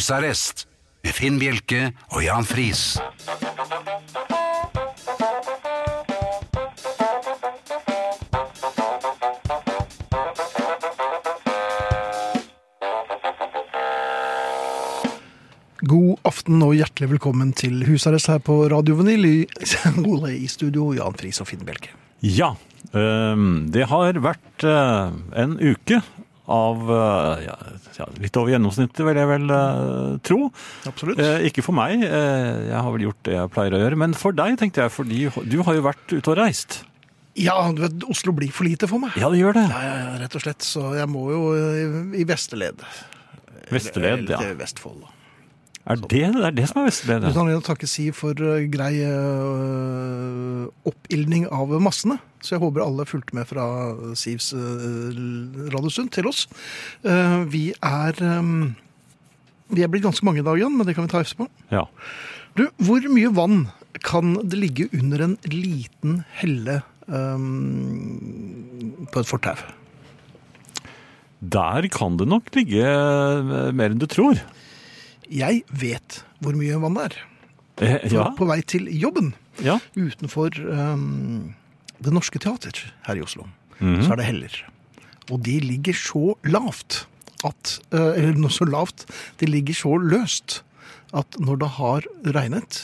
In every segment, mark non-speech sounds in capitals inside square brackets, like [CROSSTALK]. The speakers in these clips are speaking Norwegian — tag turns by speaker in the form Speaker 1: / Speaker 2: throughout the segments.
Speaker 1: Husarrest med Finn Bjelke og Jan Friis.
Speaker 2: God aften og hjertelig velkommen til husarrest her på Radio Vinyl i, [LAUGHS] i studio, Jan Friis og Finn Bjelke.
Speaker 3: Ja, øhm, det har vært øh, en uke av øh, ja, ja, litt over gjennomsnittet, vil jeg vel øh, tro.
Speaker 2: Absolutt.
Speaker 3: Eh, Ikke for meg, eh, jeg har vel gjort det jeg pleier å gjøre, men for deg, tenkte jeg, fordi du har jo vært ute og reist.
Speaker 2: Ja, du vet, Oslo blir for lite for meg.
Speaker 3: Ja, det gjør det.
Speaker 2: Ja, ja, ja, rett og slett. Så jeg må jo eh, i Vesterled.
Speaker 3: Vesterled, ja.
Speaker 2: Eller til Vestfold, da.
Speaker 3: Er det det, er det som er Vesterled?
Speaker 2: Du
Speaker 3: Ja.
Speaker 2: kan rett og takke si for eh, grei eh, oppildning av massene. Så jeg håper alle fulgte med fra Sivs eh, radiosund til oss. Eh, vi er eh, Vi er blitt ganske mange i dag, Jan, men det kan vi ta etterpå.
Speaker 3: Ja.
Speaker 2: Du, hvor mye vann kan det ligge under en liten helle ehm, på et fortau?
Speaker 3: Der kan det nok ligge øh, mer enn du tror.
Speaker 2: Jeg vet hvor mye vann det er.
Speaker 3: Eh,
Speaker 2: For
Speaker 3: Ja,
Speaker 2: På vei til jobben
Speaker 3: ja.
Speaker 2: utenfor ehm, Det Norske Teater her i Oslo, så er det heller. Og de ligger så lavt at eh, Eller noe så lavt. De ligger så løst at når det har regnet,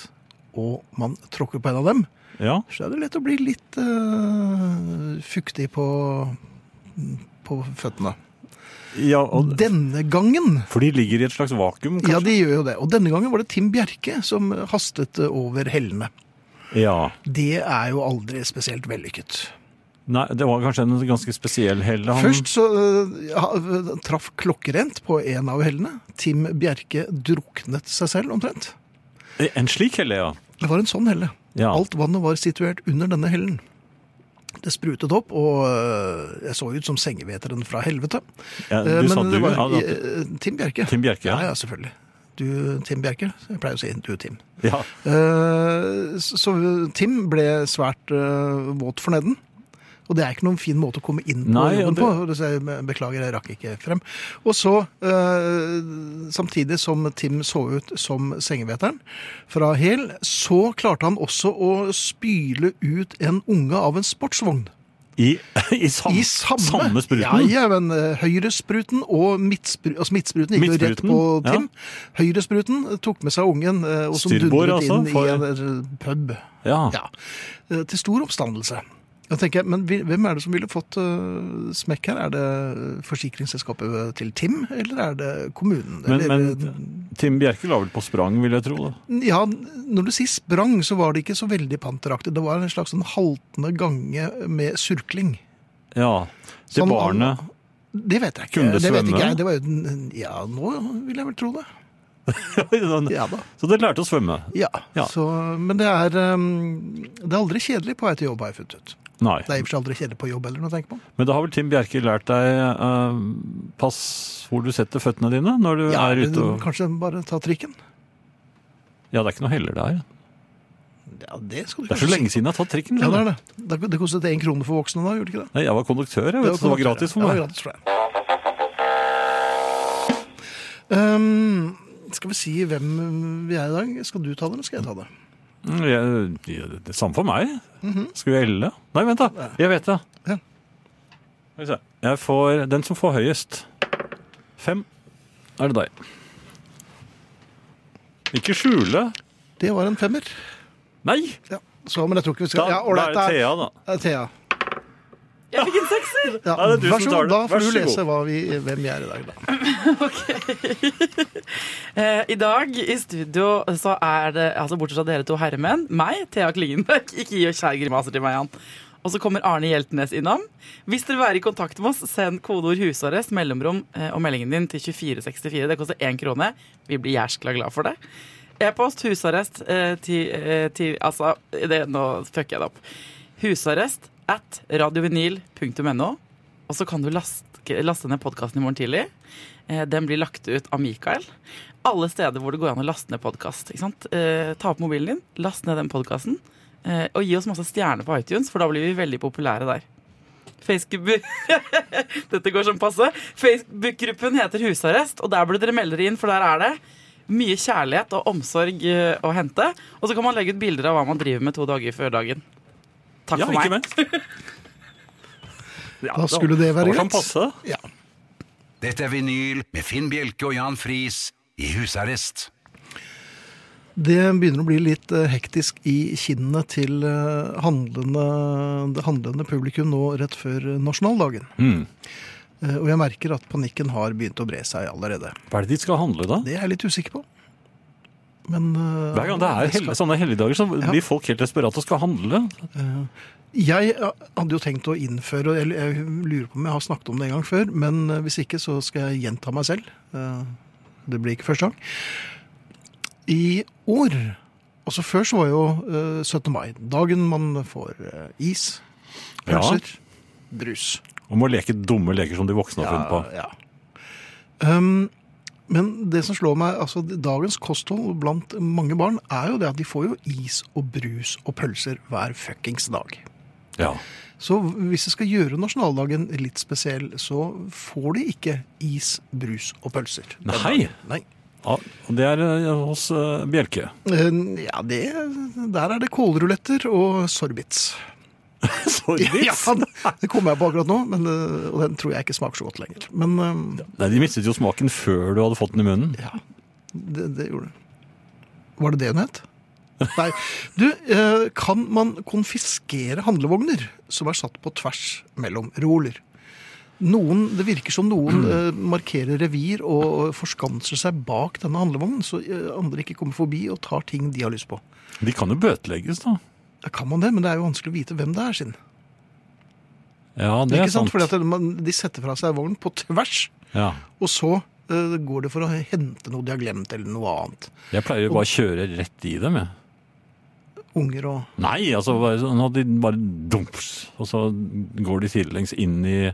Speaker 2: og man tråkker på en av dem,
Speaker 3: ja.
Speaker 2: så er det lett å bli litt eh, fuktig på, på føttene.
Speaker 3: ja og,
Speaker 2: Denne gangen
Speaker 3: for de ligger i et slags vakuum,
Speaker 2: Ja,
Speaker 3: kanskje?
Speaker 2: de gjør jo det. Og denne gangen var det Tim Bjerke som hastet over hellene.
Speaker 3: Ja.
Speaker 2: Det er jo aldri spesielt vellykket.
Speaker 3: Nei, det var kanskje en ganske spesiell helle. han-
Speaker 2: Først så eh, ha- traff klokkerent på en av hellene. Tim Bjerke druknet seg selv omtrent.
Speaker 3: Eh, En slik helle, ja.
Speaker 2: Det var en sånn helle.
Speaker 3: Ja.
Speaker 2: Alt vannet var situert under denne hellen. Det sprutet opp, og øh, jeg så ut som sengeveteren fra helvete.
Speaker 3: Ja,
Speaker 2: Eh,
Speaker 3: du sa
Speaker 2: det
Speaker 3: du,
Speaker 2: var,
Speaker 3: ja, da-
Speaker 2: eh, Tim Bjerke.
Speaker 3: Tim Bjerke, ja.
Speaker 2: ja. Ja, selvfølgelig. Du, Tim Bjerke. Jeg pleier å si du, Tim.
Speaker 3: ja.
Speaker 2: Eh, så så Tim ble svært eh, våt for neden. Og det er ikke noen fin måte å komme inn på
Speaker 3: Nei, og
Speaker 2: jobben på. Det... sier jeg, Beklager, jeg rakk ikke frem. Og så, eh, samtidig som Tim så ut som sengeveteren fra Hel, så klarte han også å spyle ut en unge av en sportsvogn.
Speaker 3: I, i, sam,
Speaker 2: I samme,
Speaker 3: samme spruten?
Speaker 2: Ja, ja, men eh, høyrespruten og midtspru, altså midtspruten gikk jo rett
Speaker 3: Midtspruten,
Speaker 2: på
Speaker 3: ja.
Speaker 2: Tim. Høyrespruten tok med seg ungen, eh, og som
Speaker 3: Styrbord,
Speaker 2: dundret
Speaker 3: altså,
Speaker 2: inn
Speaker 3: for-
Speaker 2: i
Speaker 3: Ah.
Speaker 2: en eh, pub.
Speaker 3: Ja.
Speaker 2: Ja. Eh, Til stor oppstandelse. Da tenker jeg, men hvil- Hvem er det som ville fått eh, smekk her? Er det eh, forsikringsselskapet eh, til Tim, eller er det kommunen?
Speaker 3: Men,
Speaker 2: eller, eh,
Speaker 3: men Tim Bjerke la vel på sprang, vil jeg tro. da.
Speaker 2: ja, når du sier sprang, så var det ikke så veldig panteraktig. Det var en slags sånn haltende gange med surkling.
Speaker 3: Ja. Det
Speaker 2: Sånn,
Speaker 3: barnet [LAUGHS]
Speaker 2: Det vet jeg ikke.
Speaker 3: Kunne det
Speaker 2: vet
Speaker 3: svømme?
Speaker 2: ikke jeg. Det var jo den Ja, nå vil jeg vel tro det. Ja da.
Speaker 3: Så det lærte å svømme?
Speaker 2: Ja.
Speaker 3: Ja.
Speaker 2: Så, men det er, um, det er aldri kjedelig på vei til jobb, har jeg funnet ut.
Speaker 3: Nei.
Speaker 2: Det er i og for seg aldri kjedelig på jobb heller, når du tenker på det.
Speaker 3: Men da har vel Tim Bjerke lært deg eh, pass hvor du setter føttene dine når du
Speaker 2: Ja,
Speaker 3: er
Speaker 2: men
Speaker 3: ute og
Speaker 2: Kanskje bare ta trikken.
Speaker 3: Ja, det er ikke noe heller der.
Speaker 2: Ja, det skal du
Speaker 3: Det er så
Speaker 2: kanskje
Speaker 3: lenge
Speaker 2: si.
Speaker 3: siden jeg har tatt trikken.
Speaker 2: Ja, det er
Speaker 3: skjønner du.
Speaker 2: det. Det- Det kostet én krone for voksne da, gjorde det ikke det?
Speaker 3: Nei, jeg var konduktør, jeg, vet, du, så det var gratis for
Speaker 2: Det
Speaker 3: meg.
Speaker 2: var gratis for deg. Um, skal vi si hvem vi er i dag? Skal du ta det, eller skal jeg ta det?
Speaker 3: Mm, jeg- jeg- det er Samme for meg. Skal vi elle? Nei, vent, da. Jeg vet det.
Speaker 2: Mhm. Ja.
Speaker 3: Skal vi se. Jeg får den som får høyest. Fem. Er det deg? Ikke skjule.
Speaker 2: Det var en femmer.
Speaker 3: Nei!
Speaker 2: Ja. Så, men jeg tror ikke vi skal
Speaker 3: Da,
Speaker 2: ja, ålreit,
Speaker 3: da er det Thea, da.
Speaker 2: Det er Thea.
Speaker 4: Jeg fikk en sekser!
Speaker 2: Ja,
Speaker 3: Ja, det er du
Speaker 2: vær
Speaker 3: som
Speaker 2: så
Speaker 3: tar
Speaker 2: god,
Speaker 3: det.
Speaker 2: da
Speaker 3: Vær
Speaker 2: får du
Speaker 3: så god.
Speaker 2: lese hva vi, hvem vi er i dag, da.
Speaker 4: [LAUGHS] Eh, I dag i studio så er det, altså bortsett fra dere to herremenn, meg, Thea Klingenberg. Ikke gi og kjær grimaser til meg, Jan. Og så kommer Arne Hjeltnes innom. Hvis dere vil være i kontakt med oss, send kodeord 'husarrest', mellomrom eh, og meldingen din til 2464. Det koster én krone. Vi blir jæskla glad for det. E-post husarrest eh, til, eh, til Altså, det, nå fucker jeg det opp. Husarrest at radiovinyl.no. Og så kan du laste, laste ned podkasten i morgen tidlig. Eh, Den blir lagt ut av Mikael. Alle steder hvor det går an å laste ned podkast. Eh, ta opp mobilen din, last ned den podkasten, eh, og gi oss masse stjerner på iTunes, for da blir vi veldig populære der. Facebook [LAUGHS] Dette går som passe. Facebook-gruppen heter Husarrest, og der burde dere melde dere inn, for der er det mye kjærlighet og omsorg eh, å hente. Og så kan man legge ut bilder av hva man driver med to dager før dagen. Takk
Speaker 3: Ja,
Speaker 4: for meg.
Speaker 3: ikke minst. Ja,
Speaker 2: [LAUGHS] Da skulle det være
Speaker 3: var sånn
Speaker 2: greit.
Speaker 3: passe.
Speaker 2: Ja.
Speaker 1: Dette er vinyl med Finn Bjelke og Jan Friis i husarrest.
Speaker 2: Det begynner å bli litt eh, hektisk i kinnene til eh, handlende, det handlende publikum nå rett før eh, nasjonaldagen.
Speaker 3: Mm.
Speaker 2: Eh, Og jeg merker at panikken har begynt å bre seg allerede.
Speaker 3: Hva er det de skal handle, da?
Speaker 2: Det er jeg litt usikker på. Men eh,
Speaker 3: Hver gang det er
Speaker 2: jeg skal-
Speaker 3: hel- sånne helligdager, så blir folk helt desperate og skal handle.
Speaker 2: Jeg eh, hadde jo tenkt å innføre, og jeg jeg lurer på om jeg har snakket om det en gang før, men eh, hvis ikke så skal jeg gjenta meg selv. Eh, Det blir ikke første gang. I år, altså før så var jo eh, 17. mai, dagen man får eh, is,
Speaker 3: Ja.
Speaker 2: pølser, brus.
Speaker 3: Og må leke dumme leker som de voksne har funnet på.
Speaker 2: Ja, ja. Um, men det som slår meg, altså dagens kosthold blant mange barn er jo det at de får jo is og brus og pølser hver fuckings dag.
Speaker 3: Ja.
Speaker 2: Så hvis de skal gjøre nasjonaldagen litt spesiell, så får de ikke is, brus og pølser. den
Speaker 3: Nei.
Speaker 2: dagen. Nei.
Speaker 3: Ja, og det er eh, hos eh, Bjelke.
Speaker 2: Eh, Ja, det, der er det kålruletter og sorbits.
Speaker 3: Sorry.
Speaker 2: [LAUGHS] Ja, det kommer jeg på akkurat nå, men, eh, og den tror jeg ikke smaker så godt lenger. Men eh,
Speaker 3: Nei, De mistet jo smaken før du hadde fått den i munnen.
Speaker 2: Ja, det, det gjorde det. Var det det hun het? Nei. Du, eh, kan man konfiskere handlevogner som er satt på tvers mellom reoler? Noen, det virker som
Speaker 3: [CLEARS THROAT]
Speaker 2: noen eh, markerer revir og forskanser seg bak denne handlevognen, så eh, andre ikke kommer forbi og tar ting de har lyst på.
Speaker 3: De kan jo bøtelegges, da.
Speaker 2: Ja, kan man det, men det er jo vanskelig å vite hvem det er sin.
Speaker 3: Ja, det
Speaker 2: Ikke
Speaker 3: er
Speaker 2: sant?
Speaker 3: sant.
Speaker 2: Fordi at man- de setter fra seg vognen på tvers,
Speaker 3: Ja.
Speaker 2: og så eh, går det for å hente noe de har glemt, eller noe annet.
Speaker 3: Jeg pleier jo bare å kjøre rett i dem, jeg.
Speaker 2: Unger og
Speaker 3: Nei, altså bare sånn at de bare dumps, og så går de sidelengs inn i,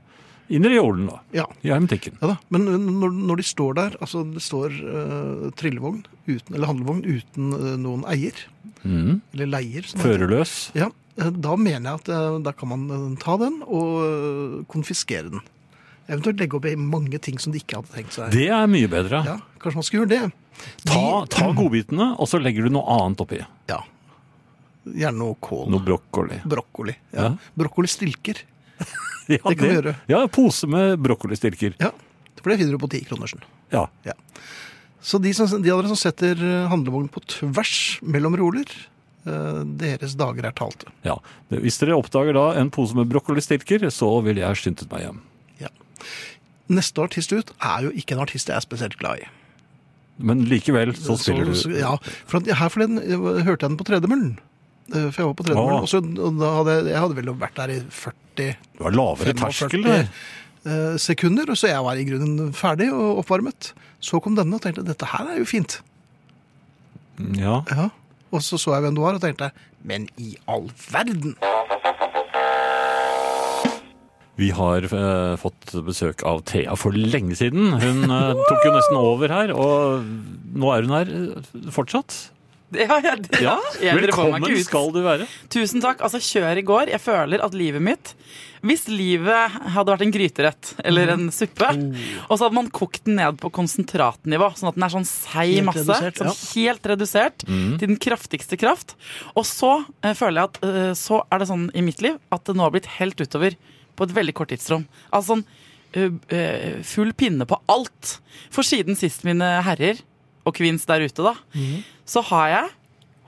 Speaker 3: inn i reolen, da.
Speaker 2: Ja.
Speaker 3: I hermetikken.
Speaker 2: Ja da, men når, når de står der, altså det står eh, trillevogn uten, eller handlevogn uten eh, noen eier,
Speaker 3: Mm.
Speaker 2: eller leier. som det heter.
Speaker 3: Førerløs.
Speaker 2: Ja, eh, da mener jeg at eh, da kan man eh, ta den og eh, konfiskere den. Eventuelt legge opp i mange ting som de ikke hadde tenkt seg.
Speaker 3: Det er mye bedre.
Speaker 2: Ja, kanskje man skulle gjøre det.
Speaker 3: Ta,
Speaker 2: De-
Speaker 3: ta godbitene, og så legger du noe annet oppi.
Speaker 2: Ja, gjerne noe kål.
Speaker 3: Noe brokkoli.
Speaker 2: Brokkoli. Ja.
Speaker 3: Ja.
Speaker 2: Brokkoli stilker.
Speaker 3: Ja,
Speaker 2: Det kan du gjøre.
Speaker 3: Ja, pose med brokkolistilker.
Speaker 2: Ja, for det finner du på 10 kronersen.
Speaker 3: Ja.
Speaker 2: Så de, som, de av dere som setter eh, handlevogn på tvers mellom roler, eh, deres dager er talte.
Speaker 3: ja. Hvis dere oppdager da en pose med brokkolistilker, så vil jeg skyndet meg hjem.
Speaker 2: Neste artist ut er jo ikke en artist jeg er spesielt glad i.
Speaker 3: Men likevel så spiller
Speaker 2: Så-
Speaker 3: du.
Speaker 2: Ja, for at her forleden eh, hørte jeg den på tredemøllen. Eh, For jeg var på tredemøllen,
Speaker 3: Ah.
Speaker 2: og, så, og da hadde jeg, jeg hadde vel vært der i 40
Speaker 3: Du har lavere
Speaker 2: 45
Speaker 3: terskel der.
Speaker 2: eh, sekunder, og så jeg var i grunnen ferdig og oppvarmet. Så kom denne og tenkte, dette her er jo fint.
Speaker 3: Ja.
Speaker 2: Ja. Og så så jeg hvem du var og tenkte, men i all verden!
Speaker 3: Vi har eh, fått besøk av Thea for lenge siden. Hun eh, tok jo nesten over her, og nå er hun her eh, fortsatt.
Speaker 4: [LAUGHS] Ja, ja, det-
Speaker 3: Ja,
Speaker 4: Jeg- dere får meg
Speaker 3: Velkommen
Speaker 4: ikke ut.
Speaker 3: skal du være.
Speaker 4: Tusen takk. Altså, kjør i går. Jeg føler at livet mitt Hvis livet hadde vært en gryterett eller en
Speaker 2: Mhm.
Speaker 4: suppe,
Speaker 2: Oh.
Speaker 4: og så hadde man kokt den ned på konsentratnivå, sånn at den er sånn seig
Speaker 2: Helt
Speaker 4: masse,
Speaker 2: redusert,
Speaker 4: sånn
Speaker 2: ja.
Speaker 4: helt redusert til den kraftigste kraft, og så eh, føler jeg at eh, så er det sånn i mitt liv at det nå har blitt helt utover på et veldig kort tidsrom. Altså sånn eh, eh, full pinne på alt. For siden sist, mine herrer og kvinns der ute, da,
Speaker 2: Mhm.
Speaker 4: så har jeg,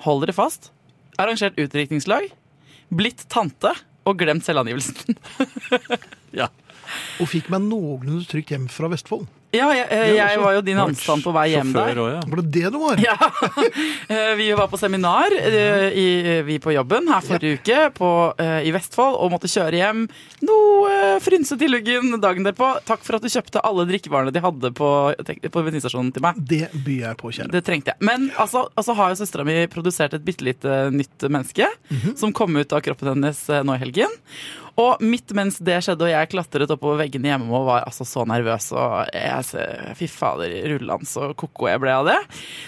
Speaker 4: hold dere fast, arrangert utdrikningslag, blitt tante og glemt selvangivelsen. [LAUGHS]
Speaker 3: Ja.
Speaker 2: Og fikk meg noenlunde trygt hjem fra Vestfold.
Speaker 4: Ja, jeg, jeg, jeg var jo din anstand på vei hjem der.
Speaker 3: Sjåfør òg, ja.
Speaker 2: Var det det du var?
Speaker 4: [LAUGHS] Ja. Eh, Vi var på seminar, eh, i, vi på jobben, her forrige uke på, eh, i Vestfold, og måtte kjøre hjem noe eh, frynset i luggen dagen derpå. Takk for at du kjøpte alle drikkevarene de hadde på, på bensinstasjonen til meg.
Speaker 2: Det byr jeg på, kjære.
Speaker 4: Det trengte jeg. Men altså, altså har jo søstera mi produsert et bitte lite nytt menneske som kom ut av kroppen hennes eh, nå i helgen. Og midt mens det skjedde og jeg klatret oppover veggene hjemme og var altså så nervøs og jeg, ser- Fy fader, rullende så koko jeg ble av det.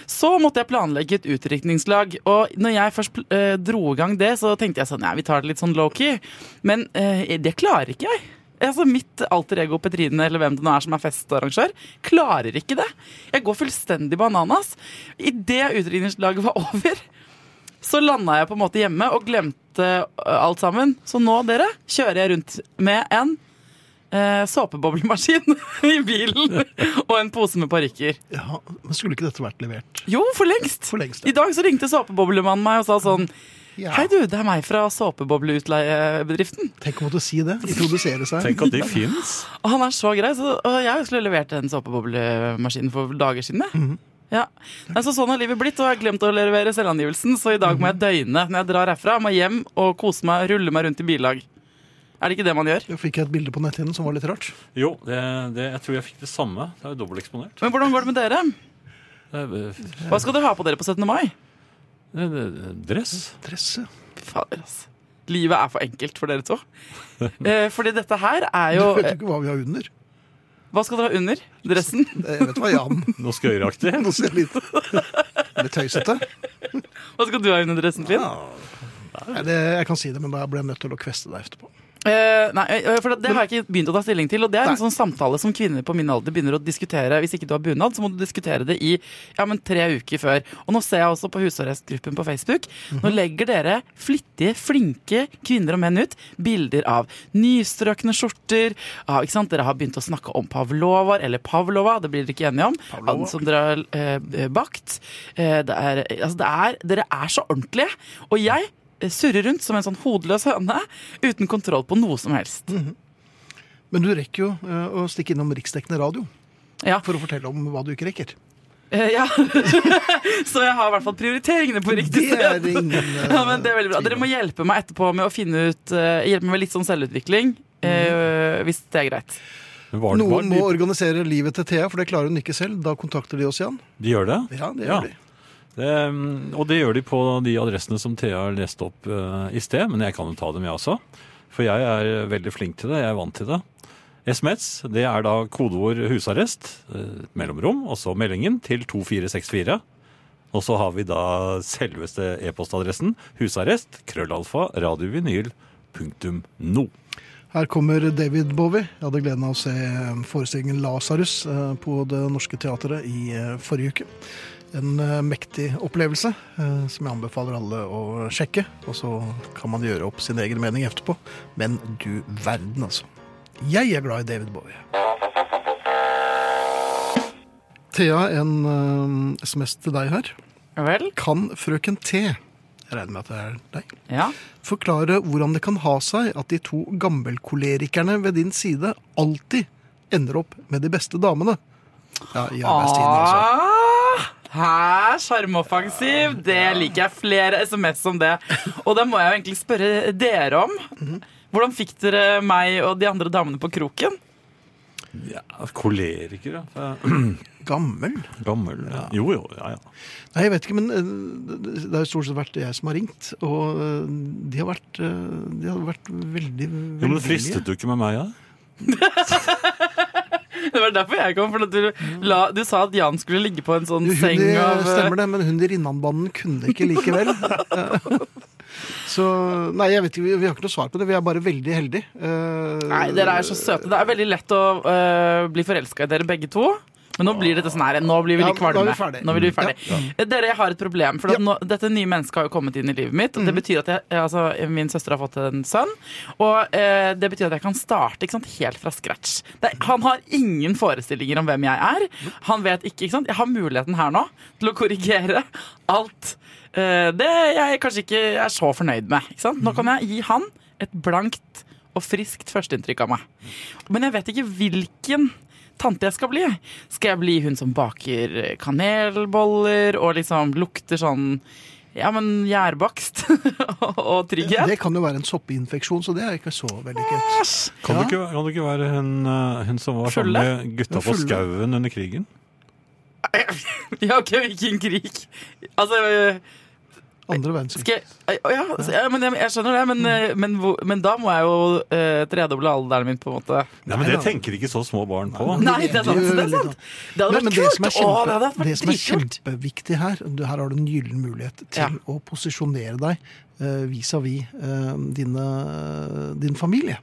Speaker 4: Så måtte jeg planlegge et utrykningslag. Og når jeg først pl- eh, dro i gang det, så tenkte jeg sånn Nei, vi tar det litt sånn low-key. Men eh, det klarer ikke jeg. Altså Mitt alter ego Petrine eller hvem det nå er som er festarrangør, klarer ikke det. Jeg går fullstendig bananas. Idet utrykningslaget var over, så landa jeg på en måte hjemme og glemte ø, alt sammen. Så nå, dere, kjører jeg rundt med en eh, såpeboblemaskin [LAUGHS] i bilen og en pose med parykker.
Speaker 2: Ja, men skulle ikke dette vært levert?
Speaker 4: Jo, for lengst!
Speaker 2: For lengst, ja.
Speaker 4: I dag så ringte såpeboblemannen meg og sa sånn
Speaker 2: Ja.
Speaker 4: Hei, du, det er meg fra såpebobleutleiebedriften.
Speaker 2: Tenk å måtte si det. Introdusere seg.
Speaker 3: Tenk at de fins.
Speaker 4: Og han er så grei, så og jeg skulle levert den såpeboblemaskinen for dager siden. jeg. Ja. Nei, så sånn har livet blitt, og jeg har glemt å levere selvangivelsen, så i dag må jeg døgne når jeg drar herfra. Jeg Må hjem og kose meg, rulle meg rundt i billag. Er det ikke det man gjør?
Speaker 2: Da fikk jeg et bilde på netthinnen som var litt rart.
Speaker 3: Jo, det, det, jeg tror jeg fikk det samme. Det er jo dobbelteksponert.
Speaker 4: Men hvordan går det med dere?
Speaker 3: Det
Speaker 4: Hva skal dere ha på dere på 17. mai?
Speaker 3: er- det er Dress.
Speaker 2: Dresse.
Speaker 4: Fy Fader, altså. Livet er for enkelt for dere to. Eh, fordi dette her er jo
Speaker 2: Du vet
Speaker 4: eh,
Speaker 2: jo ikke hva vi har under.
Speaker 4: Hva skal dere ha under dressen?
Speaker 2: Jeg vet hva
Speaker 4: [LAUGHS]
Speaker 2: Jan
Speaker 3: Noe skøyeraktig.
Speaker 2: Nå ser jeg litt Litt tøysete.
Speaker 4: Hva skal du ha under dressen, Finn?
Speaker 2: Nei, det, jeg kan si det, men da ble jeg nødt til å kveste deg etterpå.
Speaker 4: Eh, nei, eh, for Det har jeg ikke begynt å ta stilling til. Og Det er en
Speaker 2: Nei.
Speaker 4: sånn samtale som kvinner på min alder begynner å diskutere. Hvis ikke du har bunad, så må du diskutere det i ja, men tre uker før. Og Nå ser jeg også på husarrestgruppen på Facebook. Nå
Speaker 2: Mhm.
Speaker 4: legger dere flittige, flinke kvinner og menn ut bilder av nystrøkne skjorter. Ja, ikke sant? Dere har begynt å snakke om pavlovaer, eller pavlova, det blir dere ikke enige om.
Speaker 2: Pavlova.
Speaker 4: Han som dere har eh, bakt. Eh, det er, altså det er, dere er så ordentlige. Og jeg eh, surrer rundt som en sånn hodeløs høne uten kontroll på noe som helst.
Speaker 2: Mm. Men du rekker jo eh, å stikke innom riksdekkende radio
Speaker 4: Ja,
Speaker 2: for å fortelle om hva du ikke rekker.
Speaker 4: eh, ja. [LAUGHS] Så jeg har i hvert fall prioriteringene på riktig
Speaker 2: Det er
Speaker 4: sted.
Speaker 2: det ingen eh,
Speaker 4: [LAUGHS] Ja, men det er veldig bra. Dere må hjelpe meg etterpå med å finne ut eh, Hjelpe meg med litt sånn selvutvikling, eh,
Speaker 2: Mm.
Speaker 4: hvis det er greit.
Speaker 3: Var, var,
Speaker 2: Noen må
Speaker 3: de,
Speaker 2: organisere livet til Thea, for det klarer hun ikke selv. Da kontakter de oss igjen.
Speaker 3: de gjør det?
Speaker 2: Ja, det
Speaker 3: Ja.
Speaker 2: gjør de.
Speaker 3: det? mm, Og det gjør de på de adressene som Thea leste opp eh, i sted. Men jeg kan jo ta dem, jeg også. For jeg er veldig flink til det. Jeg er vant til det. SMS det er da kodeord husarrest, eh, mellomrom, og så meldingen til 2464. Og så har vi da selveste e-postadressen husarrest, krøllalfa, radiovinyl, punktum no.
Speaker 2: Her kommer David Bowie. Jeg hadde gleden av å se eh, forestillingen Lasarus på Det Norske Teatret i eh, forrige uke. En eh, mektig opplevelse eh, som jeg anbefaler alle å sjekke. Og så kan man gjøre opp sin egen mening etterpå. Men du verden, altså. Jeg er glad i David Bowie. Thea, en eh, SMS til deg her.
Speaker 4: Vel?
Speaker 2: Kan frøken T Jeg regner med at det er deg
Speaker 4: Ja.
Speaker 2: forklare hvordan det kan ha seg at de to gammelkolerikerne ved din side alltid ender opp med de beste damene. Ja, i arbeidstiden, altså.
Speaker 4: Ah, Hæ? Sjarmoffensiv? Det liker jeg. Flere SMS om det. Og da må jeg jo egentlig spørre dere om.
Speaker 2: Mhm.
Speaker 4: Hvordan fikk dere meg og de andre damene på kroken?
Speaker 3: Ja, koleriker, ja.
Speaker 4: Ah.
Speaker 2: Gammel?
Speaker 3: Gammel. Ja. Jo, jo, ja, ja.
Speaker 2: Nei, jeg vet ikke, men eh, det har jo stort sett vært jeg som har ringt. Og eh, de har vært, eh, de har vært veldig
Speaker 3: Jo, men
Speaker 2: velvillige.
Speaker 3: fristet du ikke med meg, da?
Speaker 4: Det var derfor jeg kom. For at du, la, du sa at Jan skulle ligge på en sånn
Speaker 2: Hun
Speaker 4: seng
Speaker 2: i,
Speaker 4: av
Speaker 2: stemmer det, men hun i Rinnanbanen kunne ikke
Speaker 4: [LAUGHS]
Speaker 2: likevel. [LAUGHS] Så Nei, jeg vet ikke, vi, vi har ikke noe svar på det. Vi er bare veldig heldige. Eh,
Speaker 4: Nei, dere er så søte. Det er veldig lett å øh, bli forelska i dere begge to. Men nå blir dette sånn her, nå blir vi
Speaker 2: Ja,
Speaker 4: litt
Speaker 2: nå er vi
Speaker 4: kvalme.
Speaker 2: ferdig.
Speaker 4: Nå blir vi ferdig. Dere, jeg har et problem. For at nå, dette nye mennesket har jo kommet inn i livet mitt.
Speaker 2: Mhm.
Speaker 4: Og det betyr at jeg, altså, Min søster har fått en sønn, og eh, det betyr at jeg kan starte ikke sant, helt fra scratch. Det, er- han har ingen forestillinger om hvem jeg er. Han vet ikke, ikke sant? Jeg har muligheten her nå til å korrigere alt eh, det jeg kanskje ikke er så fornøyd med. Ikke sant? Nå
Speaker 2: Mhm.
Speaker 4: kan jeg gi han et blankt og friskt førsteinntrykk av meg. Men jeg vet ikke hvilken tante jeg skal bli. Skal jeg bli hun som baker kanelboller og liksom lukter sånn ja, men gjærbakst [LAUGHS] og og trygghet?
Speaker 2: Det kan jo være en soppinfeksjon, så det er ikke så vellykket.
Speaker 4: Æsj!
Speaker 3: Kan,
Speaker 2: Ja.
Speaker 3: du ikke, kan du ikke være hun, eh, hun som var
Speaker 4: Fulle?
Speaker 3: sammen med gutta
Speaker 2: Hun
Speaker 3: på
Speaker 2: fulle.
Speaker 3: skauen under krigen?
Speaker 4: Ja, ok, hvilken krig? Altså øh,
Speaker 2: Andre verdenskrig.
Speaker 4: Skal jeg, å, ja, så- ja, men jeg, jeg skjønner det, men,
Speaker 2: Mm.
Speaker 4: eh, men, hvor- men da må jeg jo eh, tredoble alderen min, på en måte.
Speaker 3: Nei, men Det tenker ikke så små barn på.
Speaker 4: Nei, det er sant. Det, er
Speaker 2: veldig
Speaker 4: sant. det hadde
Speaker 2: Nei, men
Speaker 4: vært
Speaker 2: det som er,
Speaker 4: kult!
Speaker 2: kjempe,
Speaker 4: Å, det hadde
Speaker 2: det
Speaker 4: vært
Speaker 2: som er
Speaker 4: dritkult!
Speaker 2: kjempeviktig her du, Her har du en gyllen mulighet til
Speaker 4: Ja.
Speaker 2: å posisjonere deg eh, vis-à-vis eh, dine- din familie.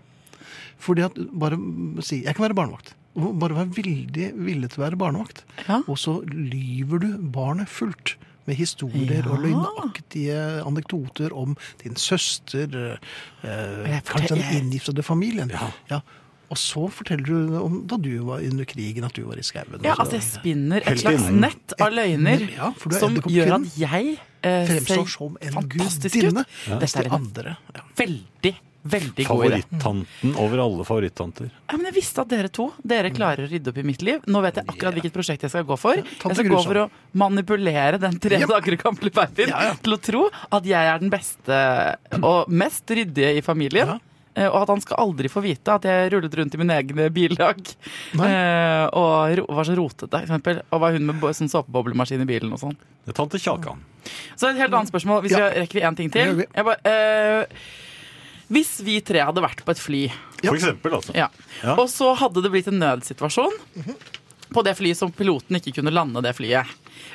Speaker 2: Fordi at bare si 'jeg kan være barnevakt'. Og Bare vær veldig villig til å være barnevakt.
Speaker 4: Ja.
Speaker 2: Og så lyver du barnet fullt. Med historier og løgnaktige anekdoter om din søster, eh, kanskje
Speaker 4: jeg fortel-
Speaker 2: den inngiftede familien.
Speaker 3: Ja.
Speaker 2: Og så forteller du om da du var under krigen, at du var i skauen.
Speaker 4: Ja,
Speaker 2: og så-
Speaker 4: altså jeg spinner et
Speaker 3: Helt
Speaker 4: slags
Speaker 3: enig.
Speaker 4: nett av løgner
Speaker 2: Ja, for du er
Speaker 4: som
Speaker 2: edderkoppkvinnen.
Speaker 4: gjør at jeg eh,
Speaker 2: Fremstår
Speaker 4: ser
Speaker 2: som en
Speaker 4: fantastisk
Speaker 2: gudinne.
Speaker 4: ut. Dette er
Speaker 2: Det
Speaker 4: en
Speaker 2: andre. Ja.
Speaker 4: veldig, veldig god idé.
Speaker 3: Favorittanten over alle favorittanter.
Speaker 4: Ja, men jeg visste at dere to dere klarer å rydde opp i mitt liv. Nå vet jeg akkurat hvilket prosjekt jeg skal gå for. Jeg skal gå
Speaker 2: Grusom.
Speaker 4: for å manipulere den tre
Speaker 2: Jep.
Speaker 4: dager gamle babyen til å tro at jeg er den beste og mest ryddige i familien. eh, Og at han skal aldri få vite at jeg rullet rundt i mine egne billag.
Speaker 2: Nei.
Speaker 4: eh, Og ro- var så rotete, for eksempel. Og var hun med bo- sånn såpeboblemaskin i bilen og sånn.
Speaker 3: Det er tante Kjakan.
Speaker 4: Så et helt annet spørsmål,
Speaker 2: Ja.
Speaker 4: hvis vi rekker vi én ting
Speaker 2: Det
Speaker 4: til.
Speaker 2: gjør vi.
Speaker 4: Jeg bare, eh, hvis vi tre hadde vært på et fly,
Speaker 3: For eksempel, altså.
Speaker 4: ja.
Speaker 3: Ja.
Speaker 4: og så hadde det blitt en nødsituasjon på det flyet som piloten ikke kunne lande det flyet,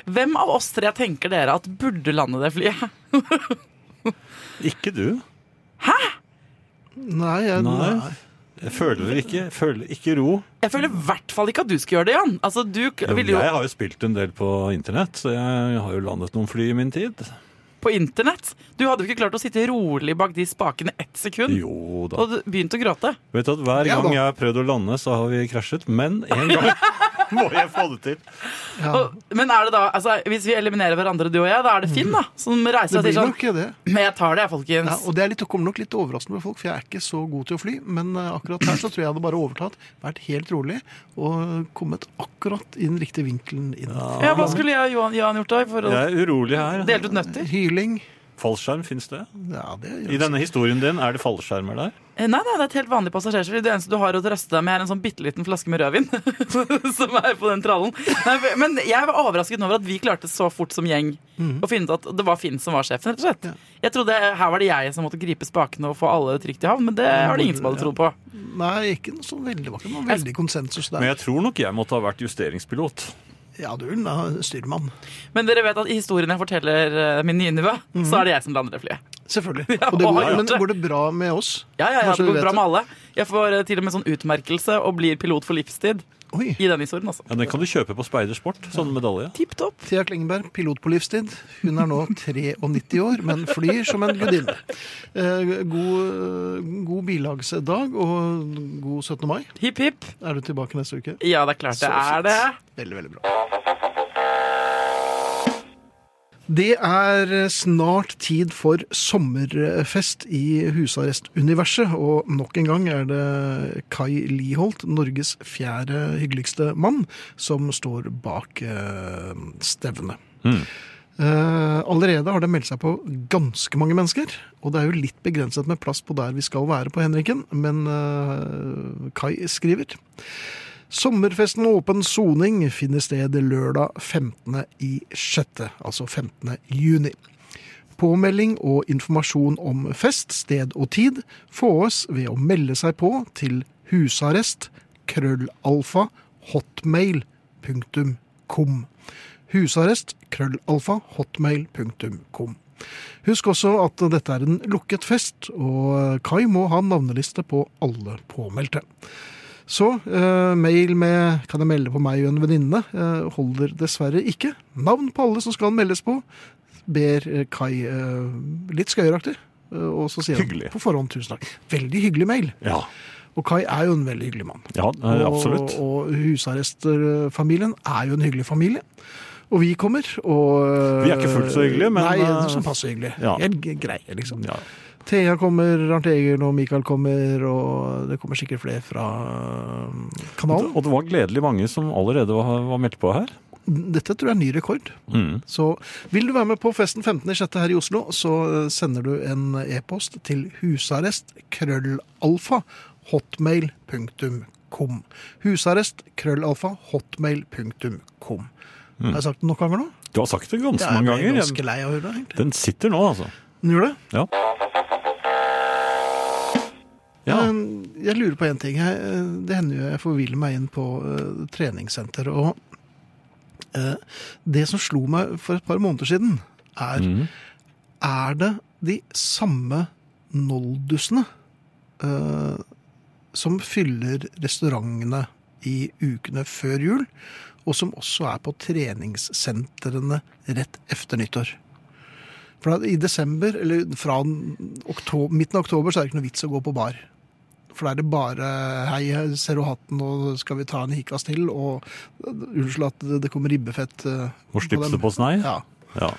Speaker 4: hvem av oss tre tenker dere at burde lande det flyet?
Speaker 3: Ikke du.
Speaker 2: Nei, jeg,
Speaker 3: Nei.
Speaker 2: nei.
Speaker 3: Jeg føler ikke, føler ikke ro.
Speaker 4: Jeg føler i hvert fall ikke at du skulle gjøre det, Jan. Altså, du k- ville
Speaker 3: Jeg
Speaker 4: jo
Speaker 3: har jo spilt en del på internett, så jeg har jo landet noen fly i min tid.
Speaker 4: på internett. Du hadde jo ikke klart å sitte rolig bak de spakene ett sekund.
Speaker 3: Jo da.
Speaker 4: Og du begynte å gråte.
Speaker 3: Vet du at Hver
Speaker 2: Ja da.
Speaker 3: gang jeg har prøvd å lande, så har vi krasjet. Men en gang må jeg få det til.
Speaker 4: Og, men er det da, altså, hvis vi eliminerer hverandre, du og jeg, da er det Finn da, som reiser
Speaker 2: Det
Speaker 4: seg og sier
Speaker 2: blir
Speaker 4: sånn
Speaker 2: nok det.
Speaker 4: Men jeg tar det, jeg, folkens.
Speaker 2: Ja, og det, er litt, det kommer nok litt overraskende på folk, for jeg er ikke så god til å fly. Men eh, akkurat her så tror jeg jeg hadde bare overtatt, vært helt rolig og kommet akkurat i den riktige vinkelen inn.
Speaker 4: Ja, hva skulle jeg og Johan, Johan gjort da? For å
Speaker 3: Jeg er urolig her.
Speaker 4: dele ut nøtter?
Speaker 2: Hyling
Speaker 3: Fallskjerm, fins det?
Speaker 2: ja, det gjør
Speaker 3: I
Speaker 2: jeg.
Speaker 3: denne historien din, er det fallskjermer der?
Speaker 4: Eh, Nei, nei, det er et helt vanlig passasjerfly. Det eneste du har å trøste deg med, er en sånn bitte liten flaske med rødvin [LAUGHS] som er på den trallen. Nei, for- men jeg var overrasket over at vi klarte så fort som gjeng å finne ut at det var Finn som var sjefen, rett og slett.
Speaker 2: Mhm. Ja.
Speaker 4: Jeg trodde her var det jeg som måtte gripe spakene og få alle trygt i havn, men det var det ingen som hadde trodd på.
Speaker 2: Nei, ikke noe sånn veldig vakker, men veldig konsensus
Speaker 3: Men
Speaker 2: der.
Speaker 3: jeg tror nok jeg måtte ha vært justeringspilot.
Speaker 2: Ja, du vil da styrmann.
Speaker 4: Men dere vet at i historien jeg forteller eh, min nye nevø,
Speaker 2: Mhm.
Speaker 4: så er det jeg som lander det flyet.
Speaker 2: Selvfølgelig.
Speaker 4: Ja,
Speaker 2: Og det går,
Speaker 4: og har gjort
Speaker 2: men
Speaker 4: det.
Speaker 2: går det bra med oss?
Speaker 4: Ja, ja, ja,
Speaker 2: Bare så du
Speaker 4: det går
Speaker 2: vet
Speaker 4: bra med alle. Jeg får eh, til og med sånn utmerkelse og blir pilot for livstid
Speaker 2: Oi.
Speaker 4: i denne historien også.
Speaker 3: Ja, Den kan du kjøpe på Speidersport. Sånn medalje.
Speaker 4: Tipp topp.
Speaker 2: Thea Klingenberg, pilot på livstid. Hun er nå 93 år, men flyr som en gudinne. Eh, God, eh, god bilagsdag og god 17. mai.
Speaker 4: Hipp hipp.
Speaker 2: Er du tilbake neste uke?
Speaker 4: Ja, det er klart det er det.
Speaker 2: Veldig, veldig bra. Det er snart tid for sommerfest i husarrestuniverset, og nok en gang er det Kai Liholt, Norges fjerde hyggeligste mann, som står bak eh, stevnet. Eh, allerede har det meldt seg på ganske mange mennesker. Og det er jo litt begrenset med plass på der vi skal være på Henriken, men eh, Kai skriver. Sommerfesten og åpen soning finner sted lørdag 15. i 6., altså 15. juni. Påmelding og informasjon om fest, sted og tid fås ved å melde seg på til husarrest krøllalfa hotmail.com. Husarrest krøllalfa hotmail.com. Husk også at dette er en lukket fest, og Kai må ha navneliste på alle påmeldte. Så eh, mail med 'kan jeg melde på meg og en venninne' eh, holder dessverre ikke. Navn på alle som skal meldes på, ber eh, Kai eh, litt skøyeraktig. eh, og så sier
Speaker 3: Hyggelig.
Speaker 2: han på forhånd 'tusen takk'. Veldig hyggelig mail.
Speaker 3: Ja,
Speaker 2: Og Kai er jo en veldig hyggelig mann.
Speaker 3: ja eh, absolutt.
Speaker 2: Og, og husarrestfamilien er jo en hyggelig familie. Og vi kommer, og
Speaker 3: Vi er ikke fullt så hyggelige, men- eh,
Speaker 2: Nei, sånn passe hyggelige.
Speaker 3: Ja.
Speaker 2: Helt greie, liksom.
Speaker 3: Ja.
Speaker 2: Thea kommer, Arnt Egil og Mikael kommer, og det kommer sikkert flere fra um, kanalen.
Speaker 3: Og det var gledelig mange som allerede var, var meldt på her.
Speaker 2: Dette tror jeg er ny rekord.
Speaker 3: Mm.
Speaker 2: Så vil du være med på festen 15.6. her i Oslo, så eh, sender du en e-post til husarrest krøllalfa hotmail.com. Husarrest krøllalfa hotmail.com. Har jeg sagt det nok ganger nå?
Speaker 3: Du har sagt det ganske
Speaker 2: Jeg er
Speaker 3: Mm. mange
Speaker 2: ble
Speaker 3: ganger.
Speaker 2: ganske lei av å høre det, egentlig.
Speaker 3: Den sitter nå, altså.
Speaker 2: Den gjør det.
Speaker 3: Ja. ja.
Speaker 2: Men jeg lurer på én ting. Jeg, eh, det hender jo jeg forviller meg inn på eh, treningssenter. Og eh, det som slo meg for et par måneder siden, er Er det de samme noldusene eh, som fyller restaurantene i ukene før jul, og som også er på treningssentrene rett efter nyttår? For da- I desember, eller fra oktober, midten av oktober, så er det ikke noe vits å gå på bar. For da er det bare 'hei, ser du hatten, og skal vi ta en hikas til?' Og unnskyld at det- det kommer ribbefett eh,
Speaker 3: Hvor
Speaker 2: dem.
Speaker 3: slipset på snei?
Speaker 2: Ja.
Speaker 3: Ja.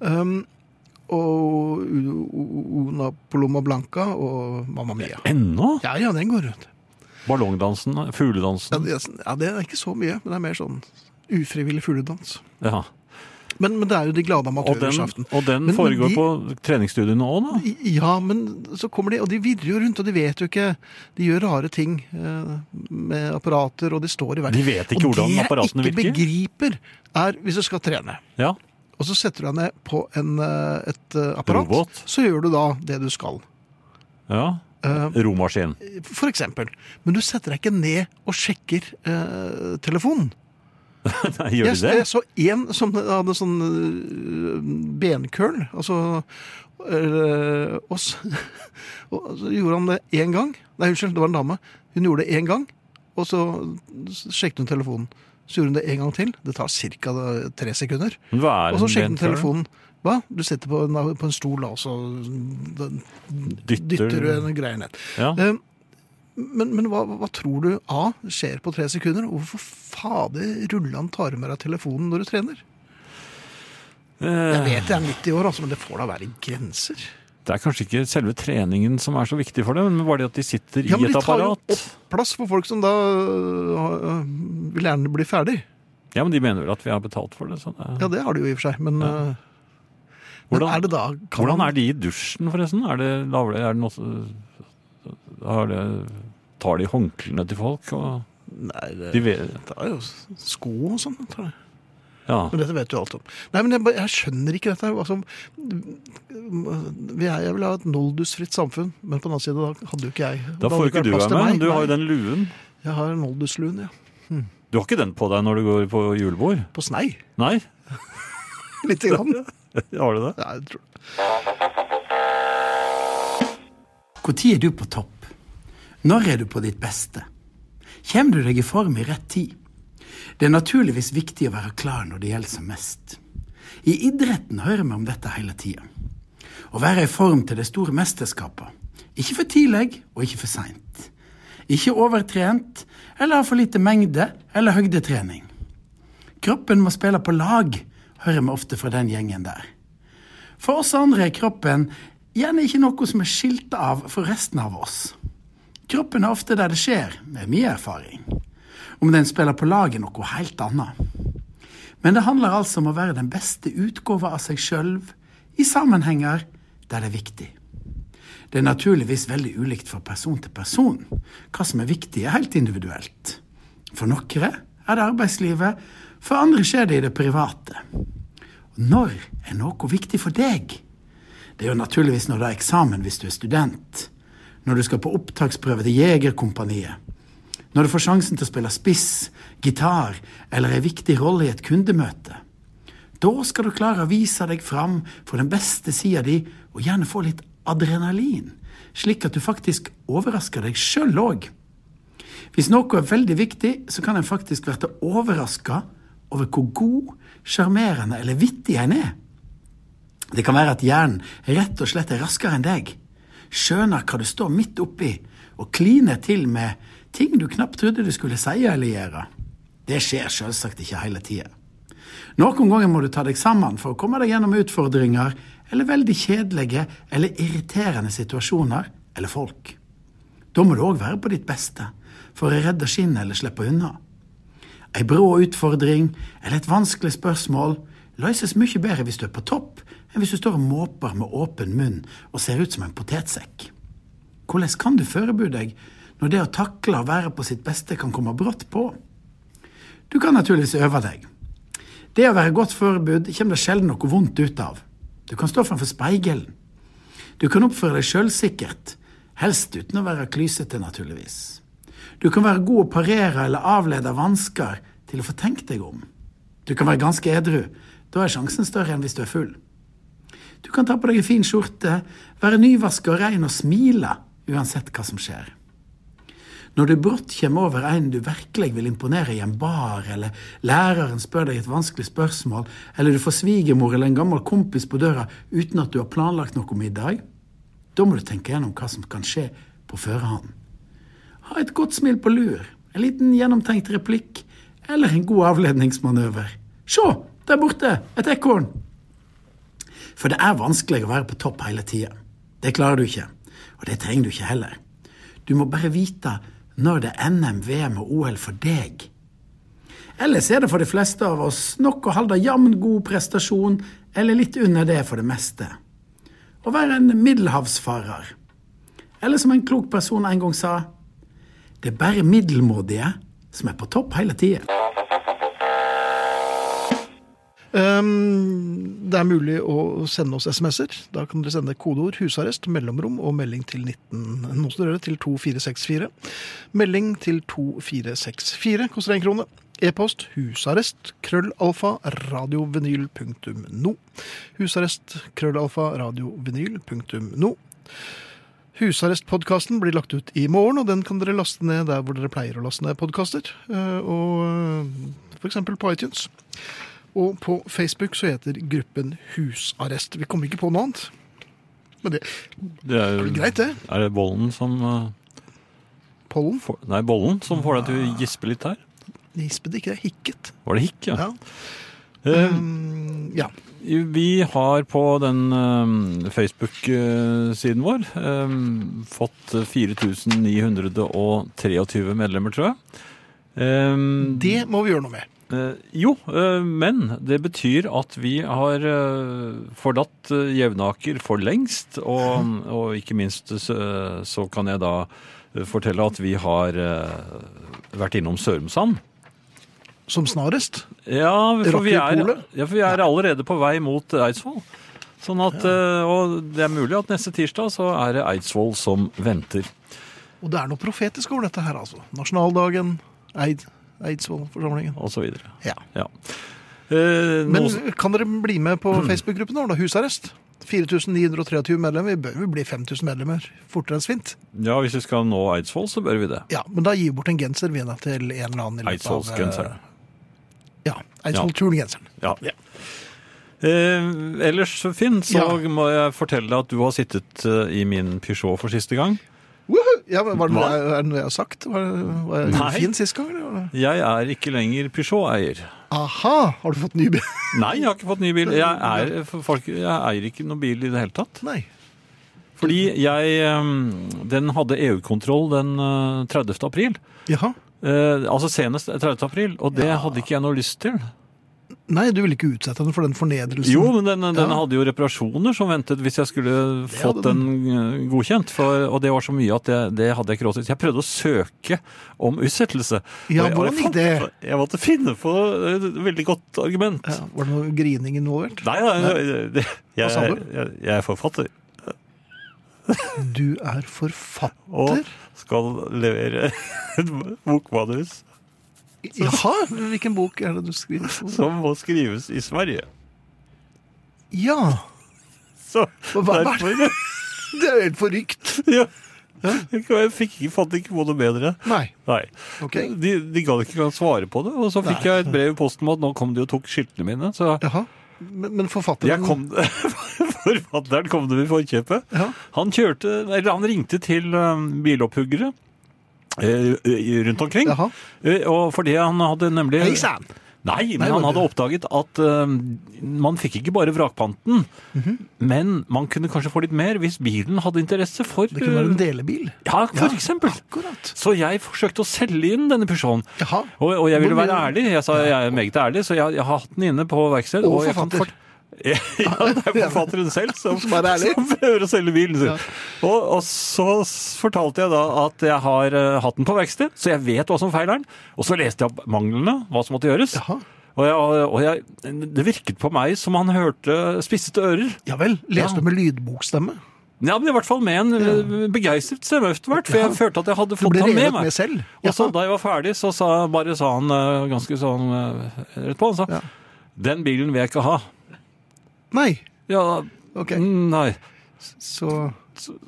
Speaker 2: Um, og U- U- Una Paloma Blanca og Mamma Mia.
Speaker 3: Ennå?
Speaker 2: Ja, ja, den går rundt.
Speaker 3: Ballongdansen,
Speaker 2: Ja,
Speaker 3: fugledansen.
Speaker 2: det, ja, det er ikke så mye, men det er mer sånn ufrivillig fugledans.
Speaker 3: Ja.
Speaker 2: Men, men det er jo de glade
Speaker 3: Og den,
Speaker 2: amatørers aften.
Speaker 3: og
Speaker 2: Men-
Speaker 3: den
Speaker 2: men
Speaker 3: foregår
Speaker 2: de-
Speaker 3: på treningsstudiene òg, da?
Speaker 2: I- Ja, men så kommer de, og de virrer jo rundt, og de vet jo ikke De gjør rare ting eh, med apparater, og de står i verden.
Speaker 3: De vet ikke hvordan apparatene
Speaker 2: Og det
Speaker 3: virker.
Speaker 2: jeg ikke begriper, er hvis du skal trene,
Speaker 3: Ja.
Speaker 2: og så setter du deg ned på en, eh, et eh, apparat,
Speaker 3: Robot.
Speaker 2: så gjør du da det du skal.
Speaker 3: ja.
Speaker 2: Eh,
Speaker 3: Romaskin. [LAUGHS]
Speaker 2: For eksempel. Men du setter deg ikke ned og sjekker eh, telefonen.
Speaker 3: Nei, Gjør
Speaker 2: jeg,
Speaker 3: de det?
Speaker 2: jeg eh, så en som hadde sånn øh, benkøl, altså øh, Og s- [LAUGHS] og så gjorde han det én gang. Nei, unnskyld, det var en dame. Hun gjorde det én gang, og så sjekket hun telefonen. Så gjorde hun det en gang til. Det tar ca. tre sekunder.
Speaker 3: Men Hva er
Speaker 2: Og så
Speaker 3: en
Speaker 2: sjekket hun
Speaker 3: benfør?
Speaker 2: telefonen. Hva? Du sitter på en, på en stol, da, og så da
Speaker 3: Dytter-
Speaker 2: dytter du en greie ned.
Speaker 3: Ja.
Speaker 2: Eh, Men, men hva, hva tror du A skjer på tre sekunder? Og Hvorfor fader rullan tar du med deg telefonen når du trener? Jeg
Speaker 3: Eh,
Speaker 2: vet jeg er 90 år, altså, men det får da være grenser.
Speaker 3: Det er kanskje ikke selve treningen som er så viktig for dem, men bare det at de sitter i
Speaker 2: Ja, men
Speaker 3: et
Speaker 2: de tar jo
Speaker 3: apparat.
Speaker 2: opp plass for folk som da øh, øh, vil gjerne bli ferdig.
Speaker 3: Ja, men de mener vel at vi har betalt for det. Så det
Speaker 2: Ja, det har de jo i og for seg, men, øh, men
Speaker 3: Hvordan-
Speaker 2: er det da kan
Speaker 3: Hvordan er de i dusjen, forresten? Er det lavere? Er det noe så- har det, Tar de håndklærne til folk? Og
Speaker 2: Nei, det,
Speaker 3: de vet,
Speaker 2: det er jo s- sko og sånn. tror jeg.
Speaker 3: ja.
Speaker 2: Men dette vet du alt om. Nei, men jeg, bare- jeg skjønner ikke dette. her, Altså, vi er, jeg vil ha et noldusfritt samfunn, men på den annen side da hadde jo ikke jeg
Speaker 3: Da får ikke du være med. men Du har jo den luen.
Speaker 2: Jeg har en oldesluen, ja.
Speaker 3: Du har ikke den på deg når du går på julebord?
Speaker 2: På snei. [LAUGHS]
Speaker 3: Nei? [LAUGHS]
Speaker 2: Lite grann.
Speaker 3: Har du det?
Speaker 2: Ja, jeg tror.
Speaker 5: Når er du på topp? Når er du på ditt beste? Kommer du deg i form i rett tid? Det er naturligvis viktig å være klar når det gjelder som mest. I idretten hører vi om dette hele tida. Å være i form til de store mesterskapene. Ikke for tidlig, og ikke for seint. Ikke overtrent, eller ha for lite mengde eller høydetrening. Kroppen må spille på lag, hører vi ofte fra den gjengen der. For oss andre er kroppen gjerne ikke noe som er skilt av for resten av oss. Kroppen er ofte der det skjer, med mye erfaring. Om den spiller på lag er noe helt annet. Men det handler altså om å være den beste utgåva av seg sjøl i sammenhenger der det er viktig. Det er naturligvis veldig ulikt fra person til person. Hva som er viktig, er helt individuelt. For noen er det arbeidslivet, for andre skjer det i det private. Når er noe viktig for deg? Det er jo naturligvis når du har eksamen hvis du er student. Når du skal på opptaksprøve til Jegerkompaniet. Når du får sjansen til å spille spiss, gitar eller en viktig rolle i et kundemøte. Da skal du klare å vise deg fram for den beste sida di, og gjerne få litt adrenalin, slik at du faktisk overrasker deg sjøl òg. Hvis noe er veldig viktig, så kan en faktisk bli overraska over hvor god, sjarmerende eller vittig en er. Det kan være at hjernen rett og slett er raskere enn deg, skjønner hva du står midt oppi, og kliner til med ting du knapt trodde du skulle si eller gjøre. Det skjer selvsagt ikke hele tida. Noen ganger må du ta deg sammen for å komme deg gjennom utfordringer eller veldig kjedelige eller irriterende situasjoner eller folk. Da må du òg være på ditt beste for å redde skinnet eller slippe unna. Ei brå utfordring eller et vanskelig spørsmål løses mye bedre hvis du er på topp, enn hvis du står og måper med åpen munn og ser ut som en potetsekk. Hvordan kan du forberede deg når det å takle å være på sitt beste kan komme brått på? Du kan naturligvis øve deg. Det å være godt forberedt kommer det sjelden noe vondt ut av. Du kan stå framfor speilet. Du kan oppføre deg sjølsikkert, helst uten å være klysete, naturligvis. Du kan være god å parere eller avlede vansker til å få tenkt deg om. Du kan være ganske edru. Da er sjansen større enn hvis du er full. Du kan ta på deg en fin skjorte, være nyvaska og rein og smile uansett hva som skjer. Når du brått kommer over en du virkelig vil imponere i en bar, eller læreren spør deg et vanskelig spørsmål, eller du får svigermor eller en gammel kompis på døra uten at du har planlagt noe middag, da må du tenke gjennom hva som kan skje på førerhånd. Ha et godt smil på lur, en liten gjennomtenkt replikk eller en god avledningsmanøver. Se, der borte, et ekorn! For det er vanskelig å være på topp hele tida. Det klarer du ikke. Og det trenger du ikke heller. Du må bare vite når det er NM, VM og OL for deg. Ellers er det for de fleste av oss nok å holde jevn god prestasjon, eller litt under det for det meste. Å være en middelhavsfarer. Eller som en klok person en gang sa, det er bare middelmådige som er på topp hele tida.
Speaker 2: Ehm, det er mulig å sende oss SMS-er. Da kan dere sende kodeord 'husarrest', mellomrom og melding til 19... Nå står det til 2464. Melding til 2464 koster én krone. E-post husarrest krøllalfa radiovinyl punktum no. Husarrest krøllalfa radiovinyl punktum no. Husarrestpodkasten blir lagt ut i morgen, og den kan dere laste ned der hvor dere pleier å laste ned podkaster. eh, Og f.eks. på iTunes. Og på Facebook så heter gruppen Husarrest. Vi kommer ikke på noe annet. Men det
Speaker 3: Det er,
Speaker 2: er vel
Speaker 3: jo-
Speaker 2: greit, det.
Speaker 3: Er det bollen som eh,
Speaker 2: Pollen.
Speaker 3: får, Nei, bollen som får deg til å gispe litt her?
Speaker 2: Gispet ikke, det er hikket.
Speaker 3: Var det hikk, ja?
Speaker 2: Ja.
Speaker 3: Eh,
Speaker 2: Mm, ja.
Speaker 3: Vi har på den eh, Facebook-siden vår eh, fått 4923 medlemmer, tror jeg. Eh,
Speaker 2: Det må vi gjøre noe med.
Speaker 3: eh, jo, eh, men det betyr at vi har eh, forlatt eh, Jevnaker for lengst. Og, og ikke minst så, så kan jeg da eh, fortelle at vi har eh, vært innom Sørumsand.
Speaker 2: Som snarest.
Speaker 3: Ja, for vi er,
Speaker 2: Rockepolet?
Speaker 3: ja, for vi er allerede på vei mot Eidsvoll. Sånn at, eh, Og det er mulig at neste tirsdag så er det Eidsvoll som venter.
Speaker 2: Og det er noe profetisk over dette her, altså. Nasjonaldagen, Eid, Eidsvollforsamlingen.
Speaker 3: Og så videre.
Speaker 2: Ja.
Speaker 3: Ja. Eh,
Speaker 2: Men
Speaker 3: noe som-
Speaker 2: kan dere bli med på Facebook-gruppen vår, da? Husarrest. 4923 medlemmer. Vi bør jo bli 5000 medlemmer fortere enn svint.
Speaker 3: ja, hvis vi skal nå Eidsvoll, så bør vi det.
Speaker 2: Ja, men da gir vi bort en genser vi da til en eller annen. i løpet av, eh,
Speaker 3: Eidsvollsgenseren.
Speaker 2: Ja. Eidsvoll-turngenseren.
Speaker 3: Ja. Eh, ellers, Finn, så
Speaker 2: Ja.
Speaker 3: må jeg fortelle deg at du har sittet eh, i min Peugeot for siste gang.
Speaker 2: Woohoo! Ja, men var det,
Speaker 3: Hva?
Speaker 2: er det noe jeg har sagt? Var, var jeg
Speaker 3: Nei.
Speaker 2: fin sist gang? Eller? var det-
Speaker 3: Jeg er ikke lenger Peugeot-eier.
Speaker 2: Aha! Har du fått ny [LAUGHS] bil?
Speaker 3: Nei, jeg har ikke fått ny bil. Jeg, er, for folk, jeg eier ikke noen bil i det hele tatt.
Speaker 2: Nei.
Speaker 3: Fordi jeg ehm, Den hadde EU-kontroll den eh, 30. april.
Speaker 2: Jaha.
Speaker 3: Eh, altså senest 30. april, og det hadde ikke jeg noe lyst til.
Speaker 2: Nei, du ville ikke utsette henne for den fornedrelsen.
Speaker 3: Jo, men den, den
Speaker 2: Ja.
Speaker 3: hadde jo reparasjoner som ventet hvis jeg skulle fått
Speaker 2: hadde
Speaker 3: den eh, godkjent. For, og det var så mye at det, det hadde jeg ikke råd til. Så Jeg prøvde å søke om utsettelse.
Speaker 2: Ja,
Speaker 3: Og jeg- og jeg
Speaker 2: hvordan gikk
Speaker 3: fant-
Speaker 2: det?
Speaker 3: Jeg måtte finne på et veldig godt argument.
Speaker 2: Ja, var det noe grining involvert?
Speaker 3: Nei, nei, det- jeg,
Speaker 2: sa du?
Speaker 3: jeg, jeg, er forfatter
Speaker 2: Du er forfatter?
Speaker 3: og skal levere [LAUGHS] et bokmanus.
Speaker 2: Jaha! Hvilken bok er det du skriver?
Speaker 3: som må skrives i Sverige.
Speaker 2: Ja!
Speaker 3: Så
Speaker 2: Hva- hva- hva-
Speaker 3: derfor [LAUGHS]
Speaker 2: Det er jo helt forrykt.
Speaker 3: ja. Jeg fikk ikke, fant ikke på noe bedre.
Speaker 2: Nei.
Speaker 3: Nei.
Speaker 2: Ok.
Speaker 3: De, de gadd ikke engang svare på det. Og så fikk jeg et brev i posten om at nå kom de og tok skiltene mine. Så
Speaker 2: Jaha. Men, men forfatteren
Speaker 3: jeg kom, [LAUGHS] forfatteren kom dem i forkjøpet.
Speaker 2: Ja.
Speaker 3: Han kjørte, eller han ringte til um, bilopphuggere eh, i- rundt omkring.
Speaker 2: Jaha.
Speaker 3: Eh, Og fordi han hadde nemlig
Speaker 2: Hei sann!
Speaker 3: Nei, men
Speaker 2: Nei,
Speaker 3: han
Speaker 2: var det-
Speaker 3: hadde oppdaget at eh, man fikk ikke bare vrakpanten,
Speaker 2: Mhm.
Speaker 3: men man kunne kanskje få litt mer hvis bilen hadde interesse for
Speaker 2: Det kunne være en
Speaker 3: eh,
Speaker 2: delebil.
Speaker 3: Ja, for eksempel.
Speaker 2: Akkurat.
Speaker 3: Så jeg forsøkte å selge inn denne Peugeoten.
Speaker 2: Jaha.
Speaker 3: Og, og jeg ville
Speaker 2: Hvor
Speaker 3: være
Speaker 2: mye-
Speaker 3: ærlig. Jeg sa jeg er meget ærlig, så jeg, jeg har hatt den inne på verksted.
Speaker 2: Og
Speaker 3: jeg kan
Speaker 2: forfatter.
Speaker 3: fort- [LAUGHS] ja, det er forfatteren selv som,
Speaker 2: Som er ærlig.
Speaker 3: [LAUGHS] som prøver å selge bilen sin. Og, og så s- fortalte jeg da at jeg har eh, hatt den på verksted, så jeg vet hva som feiler den. Og så leste jeg opp manglene, hva som måtte gjøres.
Speaker 2: Jaha.
Speaker 3: Og, jeg, og jeg, det virket på meg som han hørte spissete ører.
Speaker 2: Ja vel. Leste du med lydbokstemme?
Speaker 3: Ja, men i hvert fall med en eh, begeistret stemme etter hvert, for jeg følte at jeg
Speaker 2: Du
Speaker 3: hadde fått
Speaker 2: ble
Speaker 3: han med
Speaker 2: revet
Speaker 3: meg.
Speaker 2: med selv?
Speaker 3: Og så
Speaker 2: Jaha.
Speaker 3: da jeg var ferdig, så sa, bare sa han eh, ganske sånn eh, rett på, han sa,
Speaker 2: Ja.
Speaker 3: den bilen vil jeg ikke ha.
Speaker 2: Nei.
Speaker 3: Ja, mm,
Speaker 2: Ok.
Speaker 3: nei.
Speaker 2: Så
Speaker 3: Så,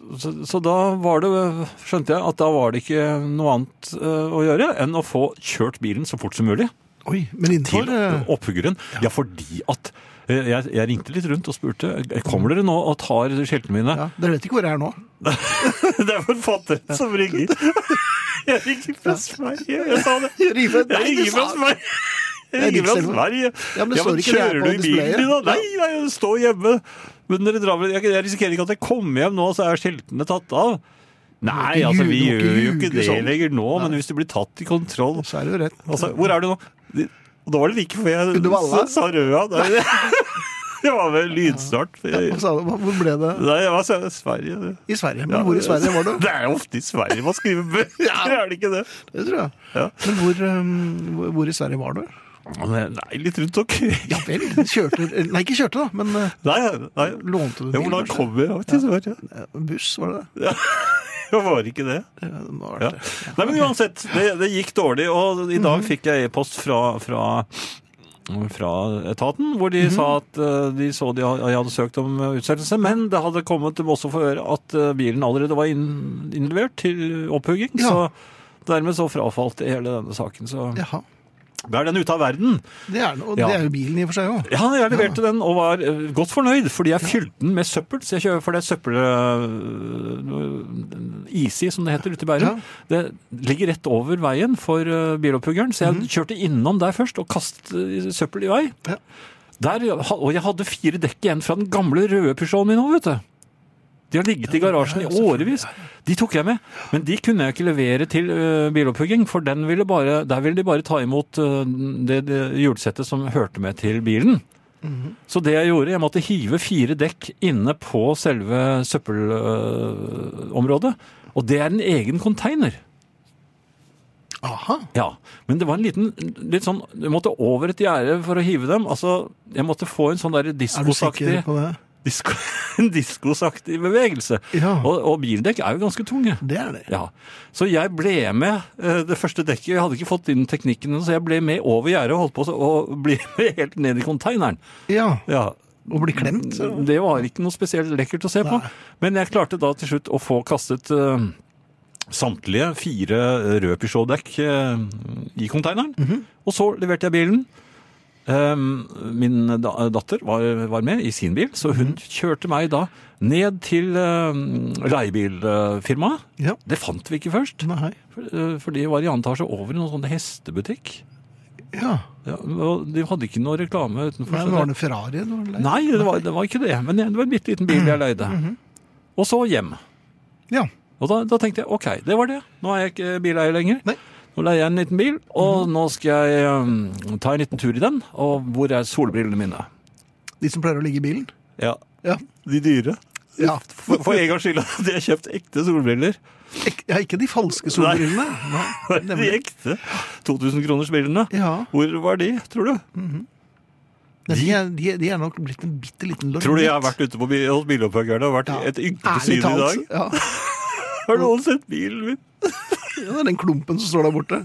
Speaker 3: så da var det, eh, skjønte jeg, at da var det ikke noe annet eh, å gjøre enn å få kjørt bilen så fort som mulig
Speaker 2: Oi. Men
Speaker 3: til
Speaker 2: innenfor eh,
Speaker 3: opphuggeren. Ja, fordi at eh, jeg, jeg ringte litt rundt og spurte, kommer dere nå og tar skiltene mine?
Speaker 2: ja, Dere vet ikke hvor jeg er nå?
Speaker 3: Det er forfatteren som
Speaker 2: [LAUGHS]
Speaker 3: ringer. Jeg ringer fra Sverige. Jeg sa det.
Speaker 2: Rive,
Speaker 3: Jeg ringer fra Sverige. Jeg ringer fra
Speaker 2: Riksselva.
Speaker 3: Sverige.
Speaker 2: Ja, men det står ikke det her
Speaker 3: kjører
Speaker 2: på
Speaker 3: du i bilen
Speaker 2: displayet?
Speaker 3: din, da? Nei, nei, jeg står hjemme. Men dere drar vel Jeg jeg risikerer ikke at jeg kommer hjem nå, så er skiltene tatt av. Nei,
Speaker 2: ikke
Speaker 3: altså, vi
Speaker 2: ljuge, du må
Speaker 3: gjør jo
Speaker 2: ikke
Speaker 3: ikke
Speaker 2: ljuge
Speaker 3: det
Speaker 2: sånn.
Speaker 3: lenger nå, men hvis du blir tatt i kontroll
Speaker 2: Så er det jo rett.
Speaker 3: Altså, hvor er du nå? Og da var det like før jeg
Speaker 2: Under Valla?
Speaker 3: sa- sa
Speaker 2: [LAUGHS]
Speaker 3: røda. Det det var vel lydstart.
Speaker 2: Hva sa du? Hva- Hvor ble det?
Speaker 3: Nei, jeg var i Sverige.
Speaker 2: I Sverige.
Speaker 3: Ja,
Speaker 2: Men hvor i Sverige var du?
Speaker 3: [LAUGHS] Det er jo ofte i Sverige man skriver
Speaker 2: [LAUGHS]
Speaker 3: bøker, [LAUGHS] er det ikke det?
Speaker 2: Det tror jeg.
Speaker 3: Ja.
Speaker 2: Men hvor, eh, hvor- hvor i Sverige var du?
Speaker 3: Nei, litt rundt omkring.
Speaker 2: Ja vel. Kjørte Nei, ikke kjørte, da, men eh,
Speaker 3: [LAUGHS] Nei, nei.
Speaker 2: lånte du
Speaker 3: Ja,
Speaker 2: bil?
Speaker 3: hvordan
Speaker 2: kanskje?
Speaker 3: kom jeg til Sverige? [LAUGHS]
Speaker 2: Eh, Buss, var det det?
Speaker 3: Det var ikke det.
Speaker 2: Ja, det må ha
Speaker 3: Ja.
Speaker 2: vært det. Mhm.
Speaker 3: Nei, men uansett, det, det gikk dårlig, og i dag fikk jeg e-post fra, fra fra etaten, hvor de
Speaker 2: Mhm.
Speaker 3: sa at eh, de så de, ha- jeg hadde søkt om eh, utsettelse, men det hadde kommet dem også for øre at eh, bilen allerede var inn, innlevert til opphugging,
Speaker 2: Ja.
Speaker 3: så dermed så frafalt det hele denne saken. Så
Speaker 2: Jaha.
Speaker 3: da er den ute av verden.
Speaker 2: Det er, den, og
Speaker 3: Ja.
Speaker 2: det er jo bilen i og for seg òg.
Speaker 3: Ja, jeg leverte den og var eh, godt fornøyd, fordi jeg fylte den med søppel. Så jeg kjører for det er søppel... eh, Easy, som det heter ute i Bærum. Det ligger rett over veien for eh, bilopphuggeren, så jeg kjørte innom der først og kastet eh, søppel i vei.
Speaker 2: Ja.
Speaker 3: Der, og jeg hadde fire dekk igjen fra den gamle røde Peugeoten min òg, vet du. De har ligget i garasjen i årevis. De tok jeg med. Men de kunne jeg ikke levere til ø, bilopphugging, for den ville bare, der ville de bare ta imot ø, det, det hjulsettet som hørte med til bilen.
Speaker 2: Mhm.
Speaker 3: Så det jeg gjorde, jeg måtte hive fire dekk inne på selve søppelområdet. Og det er en egen container.
Speaker 2: Aha.
Speaker 3: Ja, men det var en liten litt sånn, Du måtte over et gjerde for å hive dem. Altså, Jeg måtte få en sånn der
Speaker 2: Er du sikker
Speaker 3: diskosaktig
Speaker 2: på det?
Speaker 3: disko, [LAUGHS] En diskosaktig bevegelse.
Speaker 2: Ja.
Speaker 3: Og, og bildekk er jo ganske tunge.
Speaker 2: Det er det.
Speaker 3: Ja, Så jeg ble med eh, det første dekket. Jeg hadde ikke fått inn teknikken, så jeg ble med over gjerdet og holdt på å bli [LAUGHS] med helt ned i konteineren.
Speaker 2: Ja.
Speaker 3: Ja.
Speaker 2: Å bli klemt?
Speaker 3: Det var ikke noe spesielt lekkert å se på.
Speaker 2: Nei.
Speaker 3: Men jeg klarte da til slutt å få kastet eh, samtlige fire røde Peugeot-dekk eh, i konteineren.
Speaker 2: Mhm.
Speaker 3: Og så leverte jeg bilen. Um, min da datter var, var med i sin bil, så hun
Speaker 2: Mhm.
Speaker 3: kjørte meg da ned til um, leiebilfirmaet.
Speaker 2: Ja.
Speaker 3: Det fant vi ikke først.
Speaker 2: Nei.
Speaker 3: For, eh, for de var i annen etasje over i noen sånne hestebutikk.
Speaker 2: Ja.
Speaker 3: Ja, og de hadde ikke noe reklame utenfor.
Speaker 2: Men
Speaker 3: så
Speaker 2: var
Speaker 3: det-
Speaker 2: det Ferrari? du var lei?
Speaker 3: Nei, det var, det var ikke det. Men det var en bitte liten bil jeg leide. Og så hjem.
Speaker 2: Ja.
Speaker 3: Og da, da tenkte jeg OK, det var det. Nå er jeg ikke bileier lenger.
Speaker 2: Nei.
Speaker 3: Nå leier jeg en liten bil, og nå skal jeg um, ta en liten tur i den. Og hvor er solbrillene mine?
Speaker 2: De som pleier å ligge i bilen?
Speaker 3: Ja,
Speaker 2: Ja.
Speaker 3: De dyre.
Speaker 2: ja.
Speaker 3: For, for en gangs skyld hadde jeg kjøpt ekte solbriller.
Speaker 2: Ik ja ikke de falske solbrillene. Nei,
Speaker 3: De
Speaker 2: nemlig.
Speaker 3: ekte 2000-kronersbrillene.
Speaker 2: Ja.
Speaker 3: Hvor var de, tror du?
Speaker 2: De, er, de, er- de er nok blitt en bitte liten lorgnett.
Speaker 3: Tror du jeg har vært ute på bil, hos bilopphuggerne og vært et ynkelig syn i dag?
Speaker 2: Ja.
Speaker 3: Har noen sett bilen min?
Speaker 2: ja, det er den klumpen som står der borte.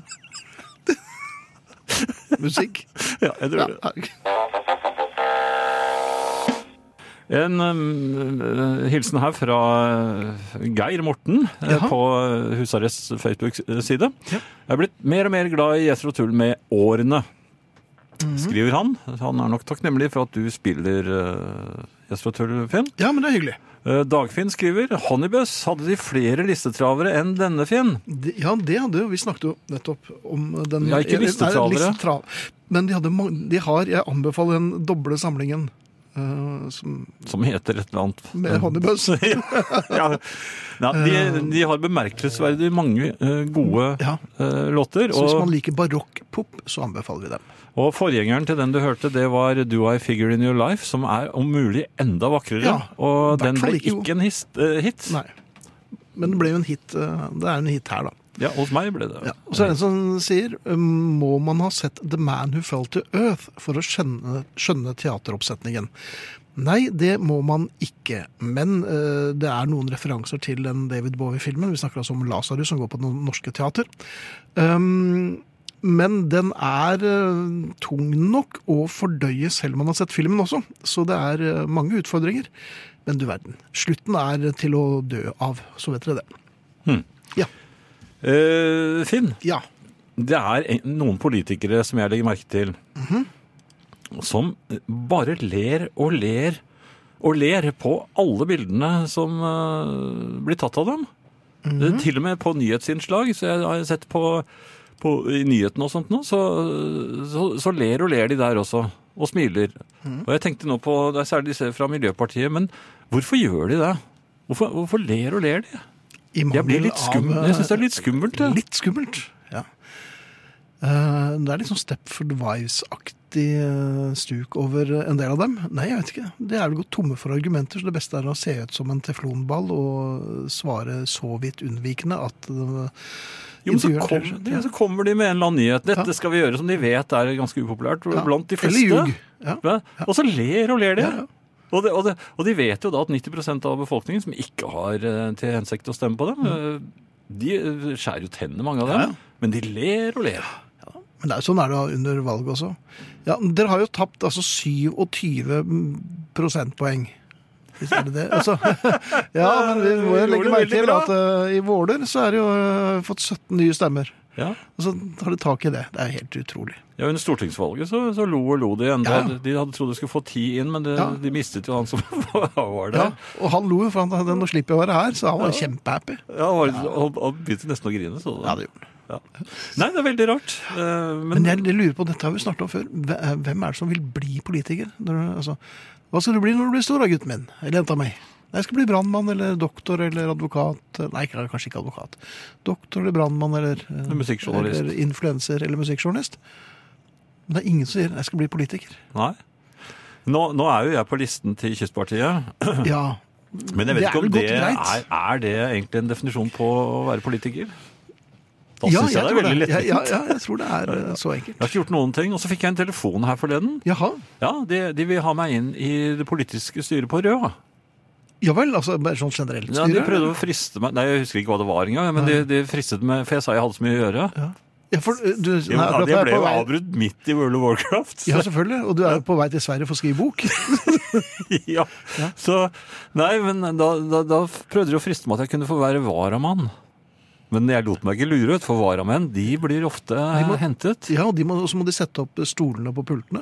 Speaker 3: [LAUGHS]
Speaker 2: Musikk.
Speaker 3: Ja, jeg tror
Speaker 2: Ja.
Speaker 3: det.
Speaker 2: ja.
Speaker 3: En um, eh, hilsen her fra eh, Geir Morten eh,
Speaker 2: Jaha.
Speaker 3: på Husarrests Facebook-side. eh, Jeg er blitt mer og mer glad i Gjetter og tull med årene,
Speaker 2: Mhm.
Speaker 3: skriver han. Han er nok takknemlig for at du spiller uh, Gjetter og tull, Finn.
Speaker 2: ja, men det er hyggelig.
Speaker 3: Eh, Dagfinn skriver Honeybus hadde de flere listetravere enn denne, Finn.
Speaker 2: De, ja, det hadde jo Vi snakket jo nettopp om den
Speaker 3: Ja, ikke
Speaker 2: Nei,
Speaker 3: listetravere.
Speaker 2: listetrav- Men de, hadde, mange- de har Jeg anbefaler den doble samlingen eh, som,
Speaker 3: Som heter et eller annet. [LAUGHS]
Speaker 2: med Honeybuzz.
Speaker 3: ja. Ja, de, de har bemerkelsesverdig mange eh, gode
Speaker 2: Eh. Ja.
Speaker 3: eh, låter.
Speaker 2: Så hvis
Speaker 3: og-
Speaker 2: man liker barokkpop, så anbefaler vi dem.
Speaker 3: Og forgjengeren til den du hørte, det var Do I Figure In Your Life, som er om mulig enda vakrere.
Speaker 2: Ja,
Speaker 3: og
Speaker 2: i hvert
Speaker 3: den
Speaker 2: fall
Speaker 3: ble
Speaker 2: like
Speaker 3: ikke
Speaker 2: god.
Speaker 3: en hist, eh, hit.
Speaker 2: Nei. Men det ble jo en hit. eh, Det er en hit her, da.
Speaker 3: Ja, hos meg ble det.
Speaker 2: Ja. Og så er det en som sier um, må man ha sett The Man Who Fell to Earth for å skjønne, skjønne teateroppsetningen. Nei, det må man ikke. Men eh, det er noen referanser til den David Bowie-filmen. Vi snakker altså om Lasarus, som går på Det Norske Teater. Um, men den er eh, tung nok å fordøye selv om man har sett filmen også. Så det er eh, mange utfordringer. Men du verden. Slutten er til å dø av, så vet dere det.
Speaker 3: Eh, Finn,
Speaker 2: Ja.
Speaker 3: det er en- noen politikere som jeg legger merke til, som bare ler og ler og ler på alle bildene som eh, blir tatt av dem. Eh, Til og med på nyhetsinnslag, så jeg har sett på, på i nyhetene og sånt nå, så, så, så ler og ler de der også, og smiler. Og jeg tenkte nå på, det er særlig disse fra Miljøpartiet, men hvorfor gjør de det? Hvorfor, hvorfor ler og ler de?
Speaker 2: I
Speaker 3: Jeg blir
Speaker 2: mangel
Speaker 3: litt skummel.
Speaker 2: av, eh,
Speaker 3: Jeg synes det er litt skummelt. det.
Speaker 2: Litt skummelt, ja. Eh, det er litt sånn Stepford Wives-aktig eh, stuk over en del av dem. Nei, jeg vet ikke. Det er vel gått tomme for argumenter, så det beste er å se ut som en teflonball og svare så vidt unnvikende at eh,
Speaker 3: Jo, men så,
Speaker 2: intervjuer
Speaker 3: kom,
Speaker 2: skjer.
Speaker 3: de,
Speaker 2: Ja.
Speaker 3: så kommer de med en eller annen nyhet. Dette
Speaker 2: Ja.
Speaker 3: skal vi gjøre som de vet er ganske upopulært
Speaker 2: Ja.
Speaker 3: blant de
Speaker 2: Eller
Speaker 3: fleste.
Speaker 2: ljug. Ja.
Speaker 3: Ja. Og så ler og ler de.
Speaker 2: Ja, ja.
Speaker 3: Og, det, og, det, og de vet jo da at 90 av befolkningen som ikke har eh, til hensikt å stemme på dem,
Speaker 2: Mm.
Speaker 3: eh, de eh, skjærer jo tennene, mange av dem. Men de ler og ler.
Speaker 2: Men det er jo sånn er det under valget også. Ja, dere har jo tapt altså 27 prosentpoeng. Hvis er det det? Altså, [LAUGHS] ja, men vi må jo
Speaker 3: Det
Speaker 2: legge
Speaker 3: gjorde
Speaker 2: merke
Speaker 3: veldig
Speaker 2: til
Speaker 3: bra.
Speaker 2: at eh, i Våler så er det jo eh, fått 17 nye stemmer.
Speaker 3: Ja.
Speaker 2: Og så tar de tak i det. Det er jo helt utrolig.
Speaker 3: Ja, Under stortingsvalget så, så lo og lo de enda.
Speaker 2: Ja, ja.
Speaker 3: De hadde trodd de skulle få ti inn, men det,
Speaker 2: Ja.
Speaker 3: de mistet jo han som [LAUGHS]
Speaker 2: Ja,
Speaker 3: var der.
Speaker 2: og han lo jo, for han, nå slipper jeg å være her, så han var kjempehappy.
Speaker 3: Ja, han var, Og, og begynte nesten å grine. Så,
Speaker 2: Ja, det gjorde han.
Speaker 3: Nei, det er veldig rart. eh,
Speaker 2: Men jeg, jeg lurer på, dette har vi snakket om før, Hve- eh, hvem er det som vil bli politiker? Når du- altså, hva skal du bli når du blir stor, da, gutten min? Eller jenta mi? Nei, Jeg skal bli brannmann eller doktor eller advokat. Nei, ikke- kanskje ikke advokat. Doktor eller brannmann eller eh,
Speaker 3: Musikkjournalist.
Speaker 2: Eller influenser eller musikkjournalist. Men det er ingen som sier 'jeg skal bli politiker'.
Speaker 3: Nei. Nå, nå er jo jeg på listen til Kystpartiet,
Speaker 2: Ja,
Speaker 3: men jeg vet
Speaker 2: Det er
Speaker 3: ikke om
Speaker 2: vel
Speaker 3: det
Speaker 2: godt
Speaker 3: er,
Speaker 2: greit.
Speaker 3: er det egentlig en definisjon på å være politiker. Da
Speaker 2: ja
Speaker 3: synes jeg det er
Speaker 2: tror
Speaker 3: veldig
Speaker 2: det. Ja,
Speaker 3: lettvint.
Speaker 2: ja, ja, jeg tror det er eh, så
Speaker 3: Jeg har
Speaker 2: enkelt.
Speaker 3: ikke gjort noen ting, og så fikk jeg en telefon her forleden.
Speaker 2: Jaha.
Speaker 3: Ja, de, de vil ha meg inn i det politiske styret på Rød.
Speaker 2: Ja vel, altså bare sånn generelt
Speaker 3: Ja, de
Speaker 2: styre?
Speaker 3: prøvde å friste meg, nei, jeg husker ikke hva det var engang, men de, de fristet meg, for jeg sa jeg hadde så mye å gjøre.
Speaker 2: Ja, for eh, du, nei,
Speaker 3: Jo, da,
Speaker 2: akkurat
Speaker 3: det
Speaker 2: jeg er
Speaker 3: ble
Speaker 2: på
Speaker 3: jo
Speaker 2: vei-
Speaker 3: avbrutt midt i World of Warcraft.
Speaker 2: Ja, selvfølgelig. Og du er jo på vei til Sverige for å skrive bok.
Speaker 3: [LAUGHS] ja. Så, nei, men da, da, da prøvde de å friste meg at jeg kunne få være varamann. Men jeg lot meg ikke lure ut, for varamenn de blir ofte hentet.
Speaker 2: Ja, Og de må, og så må de sette opp stolene på pultene.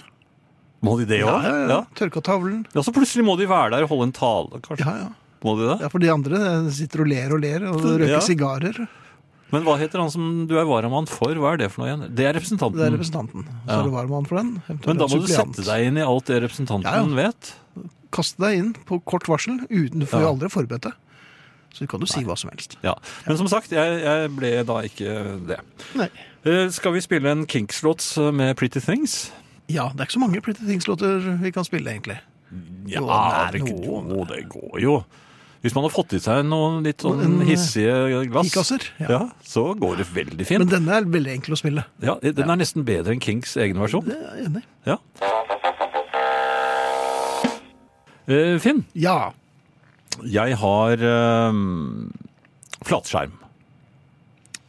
Speaker 3: Må de det òg?
Speaker 2: ja, ja.
Speaker 3: ja.
Speaker 2: Tørke av tavlen.
Speaker 3: Ja, så plutselig må de være der og holde en tale, kanskje.
Speaker 2: Ja, ja.
Speaker 3: Må de det?
Speaker 2: ja, for de andre eh, sitter og ler og ler og røyker
Speaker 3: Ja.
Speaker 2: sigarer.
Speaker 3: Men hva heter han som du er varamann for? Hva er det for noe igjen? Det er representanten.
Speaker 2: Det er representanten. Så
Speaker 3: Mm. Ja.
Speaker 2: er det varmann for den. eventuelt
Speaker 3: Men da må
Speaker 2: en
Speaker 3: du
Speaker 2: suppleant.
Speaker 3: sette deg inn i alt det representanten
Speaker 2: Ja, ja.
Speaker 3: vet.
Speaker 2: Kaste deg inn på kort varsel. Uten, du får
Speaker 3: Ja.
Speaker 2: jo aldri forberedt deg. Så du kan jo si hva som helst.
Speaker 3: Ja. Men som sagt, jeg, jeg ble da ikke det.
Speaker 2: Nei.
Speaker 3: Eh, Skal vi spille en Kinks-låt med Pretty Things?
Speaker 2: Ja, det er ikke så mange Pretty Things-låter vi kan spille, egentlig.
Speaker 3: Ja,
Speaker 2: Jo,
Speaker 3: det,
Speaker 2: det er
Speaker 3: er ikke-
Speaker 2: noen.
Speaker 3: jo, det går jo. Hvis man har fått i seg noen litt sånn
Speaker 2: En, eh,
Speaker 3: hissige glass,
Speaker 2: Kikasser,
Speaker 3: ja.
Speaker 2: ja.
Speaker 3: så går det veldig
Speaker 2: Men
Speaker 3: fint.
Speaker 2: denne er veldig enkel å spille.
Speaker 3: Ja, den er nesten bedre enn Kings egen versjon.
Speaker 2: Det er jeg enig i.
Speaker 3: Ja. Eh, Finn,
Speaker 2: Ja.
Speaker 3: jeg har eh, flatskjerm.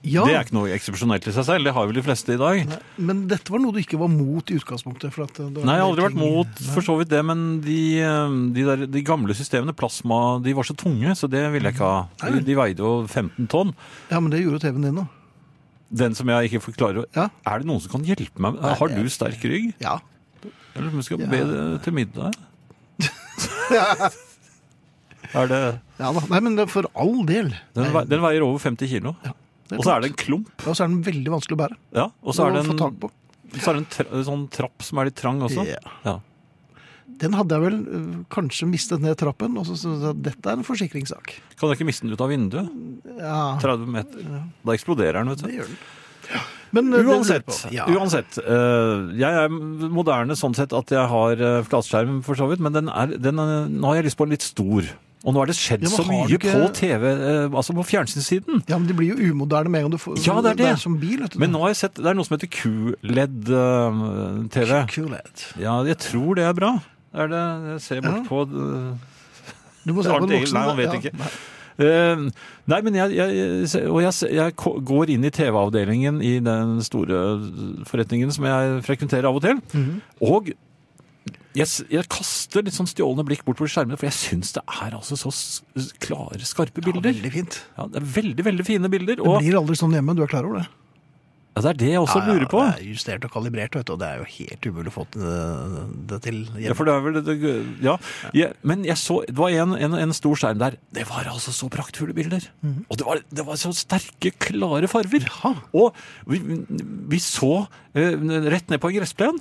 Speaker 2: ja.
Speaker 3: Det er ikke noe eksepsjonelt i seg selv, det har vel de fleste i dag. Nei,
Speaker 2: Men dette var noe du ikke var mot i utgangspunktet? For at det var en
Speaker 3: jeg har
Speaker 2: del
Speaker 3: aldri vært
Speaker 2: ting-
Speaker 3: mot for så vidt det, men de, eh, de, der, de gamle systemene, plasma, de var så tunge, så det ville jeg ikke ha.
Speaker 2: Mm.
Speaker 3: De, de veide jo 15 tonn.
Speaker 2: Ja, men det gjorde jo TV-en din nå.
Speaker 3: Den som jeg ikke forklarer
Speaker 2: Ja.
Speaker 3: Er det noen som kan hjelpe meg? Har du sterk rygg?
Speaker 2: Ja.
Speaker 3: Eller om jeg skal
Speaker 2: Ja.
Speaker 3: be det
Speaker 2: [LAUGHS]
Speaker 3: til middag? er det
Speaker 2: Ja da. Nei, men det er for all del.
Speaker 3: den, vei, den veier over 50 kilo. Og så er det en klump.
Speaker 2: Ja, og så er den veldig vanskelig å bære.
Speaker 3: Ja, og så er det
Speaker 2: å
Speaker 3: en,
Speaker 2: få tak på.
Speaker 3: så er det en tra sånn trapp som er litt trang også.
Speaker 2: Ja.
Speaker 3: Ja.
Speaker 2: Den hadde jeg vel øh, kanskje mistet ned trappen, og så syntes jeg at dette er en forsikringssak.
Speaker 3: Kan dere ikke miste den ut av vinduet?
Speaker 2: Ja,
Speaker 3: 30 meter. Da eksploderer den, vet
Speaker 2: det
Speaker 3: du.
Speaker 2: gjør den. Men, øh, det lurer jeg
Speaker 3: Uansett.
Speaker 2: på. Ja.
Speaker 3: uansett eh, jeg er eh, moderne sånn sett at jeg har eh, flatskjerm, for så vidt, men den er, den er, nå har jeg lyst på en litt stor. Og nå er det skjedd
Speaker 2: Ja, men
Speaker 3: så
Speaker 2: har
Speaker 3: mye
Speaker 2: du ikke-
Speaker 3: på TV, eh, altså på fjernsynssiden.
Speaker 2: Ja, men det blir jo umoderne med en gang du får
Speaker 3: Ja, det er det.
Speaker 2: som bil. vet du.
Speaker 3: Men nå har jeg sett, det er noe som heter QLED-TV.
Speaker 2: QLED.
Speaker 3: Ja, jeg tror det er bra. Er det, jeg ser
Speaker 2: Ja.
Speaker 3: bort på eh,
Speaker 2: Du må se på
Speaker 3: Arnt
Speaker 2: den
Speaker 3: Egil,
Speaker 2: voksne.
Speaker 3: nei, han
Speaker 2: ja.
Speaker 3: vet ikke.
Speaker 2: Nei.
Speaker 3: Eh, nei, men jeg, jeg, og jeg, jeg ko- går inn i TV-avdelingen i den store forretningen som jeg frekventerer av og til,
Speaker 2: Mhm.
Speaker 3: og jeg, s- jeg kaster litt sånn stjålende blikk bort på skjermene, for jeg syns det er altså så s- klare, skarpe bilder.
Speaker 2: Veldig fint.
Speaker 3: Ja, det er veldig, veldig fine bilder.
Speaker 2: Det
Speaker 3: Og
Speaker 2: blir aldri sånn hjemme, du er klar over det?
Speaker 3: ja, det er det jeg også
Speaker 2: Ja, ja,
Speaker 3: lurer på.
Speaker 2: Det er justert og kalibrert, vet du, og det er jo helt umulig å få til det, det til
Speaker 3: Ja,
Speaker 2: hjemme.
Speaker 3: for det er vel det, det Ja. Jeg, men jeg så Det var en, en, en stor skjerm der. Det var altså så praktfulle bilder.
Speaker 2: Mhm.
Speaker 3: Og det var, det var så sterke, klare farger. Og vi, vi så eh, rett ned på en gressplen.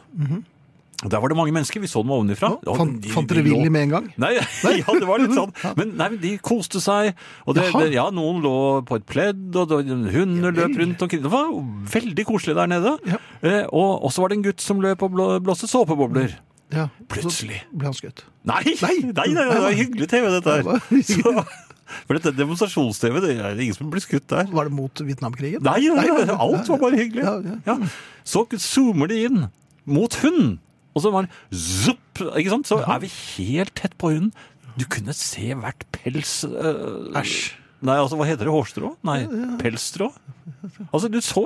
Speaker 3: Der var det mange mennesker. Vi så dem ovenifra.
Speaker 2: Ja,
Speaker 3: Og
Speaker 2: Mhm. fant-
Speaker 3: de-
Speaker 2: fant
Speaker 3: de
Speaker 2: dere
Speaker 3: lå-
Speaker 2: Willy med en gang?
Speaker 3: Nei, [LAUGHS] ja, det var litt
Speaker 2: [LAUGHS]
Speaker 3: sånn. Men nei, men de koste seg. Og det,
Speaker 2: Jaha.
Speaker 3: det, ja, noen lå på et pledd, og det- hunder løp rundt omkring. Det var veldig koselig der nede. Eh, og og så var det en gutt som løp og blå- blåste såpebobler.
Speaker 2: Ja.
Speaker 3: Plutselig.
Speaker 2: Så ble han skutt.
Speaker 3: Nei!
Speaker 2: Nei.
Speaker 3: nei, nei, det var hyggelig TV, dette
Speaker 2: Ja, [LAUGHS] det
Speaker 3: her.
Speaker 2: var hyggelig.
Speaker 3: Så, for dette demonstrasjons-TV, det er ingen som blir skutt der.
Speaker 2: Var det mot Vietnamkrigen?
Speaker 3: Nei, nei, nei, alt var bare hyggelig.
Speaker 2: Ja, ja.
Speaker 3: Ja. Så zoomer de inn mot hunden, og så var det zupp, ikke sant? Så er vi helt tett på hunden. Du kunne se hvert pels... øh,
Speaker 2: Æsj.
Speaker 3: Nei, altså, hva heter det? Hårstrå? Nei, pelsstrå? Altså, du så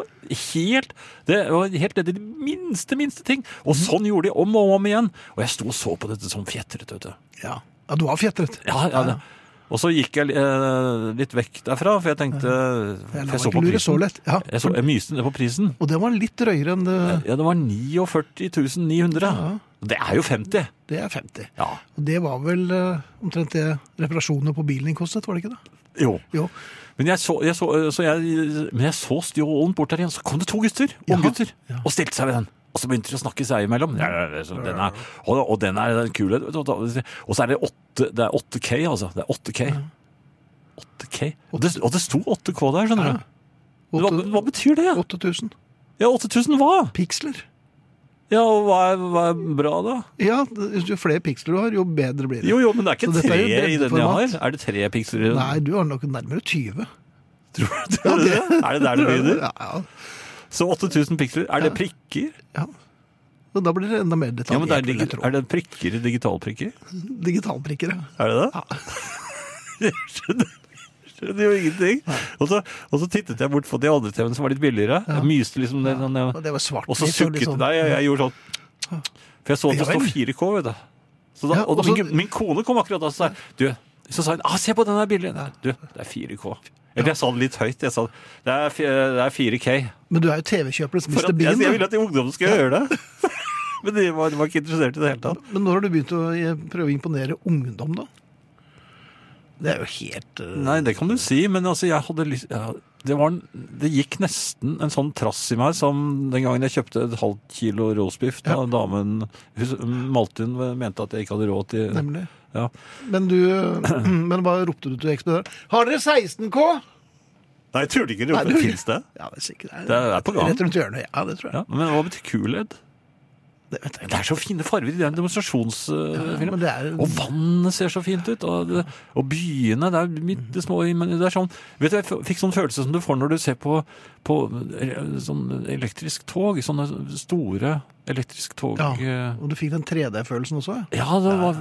Speaker 3: helt Det var helt ned i de minste, minste ting. Og
Speaker 2: Mhm.
Speaker 3: sånn gjorde de om og om igjen. Og jeg sto og så på dette som fjetret, vet du.
Speaker 2: Ja. ja, du var fjetret.
Speaker 3: Ja, ja, det. Og så gikk jeg eh, litt vekk derfra, for jeg tenkte
Speaker 2: Jeg
Speaker 3: for
Speaker 2: lar
Speaker 3: Jeg så
Speaker 2: meg
Speaker 3: på
Speaker 2: ikke lure så
Speaker 3: prisen.
Speaker 2: lett. Ja.
Speaker 3: Jeg, så, jeg myste ned på prisen.
Speaker 2: Og det var litt drøyere enn det
Speaker 3: Ja, det var 49 900. Det er jo 50.
Speaker 2: Det er 50.
Speaker 3: Ja.
Speaker 2: Og det var vel eh, omtrent det reparasjonene på bilen din kostet, var det ikke det?
Speaker 3: Jo.
Speaker 2: Jo.
Speaker 3: Men jeg så, jeg så, så, jeg, men jeg så stjålen bort der igjen. Så kom det to gutter, unggutter, og stilte seg ved den. Og så begynte de å snakke seg imellom. Ja, ja, ja, så den er, og, og den er den er kul. vet du. Og så er det 8, det er 8K, altså. Det er 8K. 8K. Og det, og det sto 8K der, skjønner du. Hva, hva betyr det?
Speaker 2: 8000
Speaker 3: Ja, 8000 hva?
Speaker 2: piksler.
Speaker 3: Ja, og hva er, hva er bra da?
Speaker 2: Ja, det- jo flere piksler du har, jo bedre blir det.
Speaker 3: Jo, jo, men det er ikke
Speaker 2: Så dette er
Speaker 3: tre
Speaker 2: jo
Speaker 3: i den jeg
Speaker 2: breddeformat.
Speaker 3: har. Er det tre piksler i den?
Speaker 2: Nei, du har nok nærmere 20.
Speaker 3: Tror du tror du det? Er det der det begynner?
Speaker 2: Ja, ja.
Speaker 3: Så 8000 piksler, er det prikker?
Speaker 2: ja. Og da blir det enda mer detaljert.
Speaker 3: Ja, men det er,
Speaker 2: vil jeg
Speaker 3: digi-
Speaker 2: tro.
Speaker 3: er det prikker, digitalprikker?
Speaker 2: Digitalprikker, ja.
Speaker 3: Er det det? [LAUGHS] Jeg skjønner, skjønner jo ingenting. Og så, og så tittet jeg bort på de andre TV-ene som var litt billigere. Jeg myste liksom det, sånn,
Speaker 2: Og det var svart.
Speaker 3: og så sukket
Speaker 2: liksom.
Speaker 3: Nei, jeg, jeg gjorde sånn. For jeg så at det
Speaker 2: Ja vel.
Speaker 3: stod 4K, vet du. Så da,
Speaker 2: Ja,
Speaker 3: og da,
Speaker 2: og så-
Speaker 3: min, min kone kom akkurat da og sa du, så sa hun ah, se på den der bildet. Du, det er 4K. Eller jeg sa det litt høyt. Jeg sa det er, fi- det er 4K.
Speaker 2: Men du er jo TV-kjøperens
Speaker 3: For
Speaker 2: Mr.
Speaker 3: at, jeg,
Speaker 2: Bean.
Speaker 3: jeg
Speaker 2: da.
Speaker 3: ville at de ungdommene skulle høre det. [LAUGHS] Men de var, de var ikke interessert i det hele tatt.
Speaker 2: Men når har du begynt å eh, prøve å imponere ungdom, da? Det er jo helt eh,
Speaker 3: Nei, det kan du si, men altså, jeg hadde lyst ja, det, var, en- det gikk nesten en sånn trass i meg som den gangen jeg kjøpte et halvt kilo roastbiff. Da damen hun- Maltin mente at jeg ikke hadde råd til
Speaker 2: Nemlig.
Speaker 3: ja.
Speaker 2: Men du [CLEARS THROAT] Men hva ropte du til ekspeditøren? Har dere 16K?
Speaker 3: Nei, jeg tror ikke
Speaker 2: Nei, du-
Speaker 3: Finnes det?
Speaker 2: Ja, det er sikkert.
Speaker 3: Det er på gang.
Speaker 2: Rett rundt hjørnet. Ja, det tror jeg.
Speaker 3: Ja, men hva betyr kuledd?
Speaker 2: Det vet jeg
Speaker 3: Det er så fine farger i den
Speaker 2: ikke. Men
Speaker 3: demonstrasjonsfilmen.
Speaker 2: det er
Speaker 3: Og vannet ser så fint ut, og, det, og byene det er midt i små men det er sånn, Vet du, jeg f- fikk sånn følelse som du får når du ser på, på eh, sånn elektrisk tog. Sånne store elektrisk tog
Speaker 2: Ja.
Speaker 3: eh,
Speaker 2: Og du fikk den 3D-følelsen også? ja.
Speaker 3: ja det var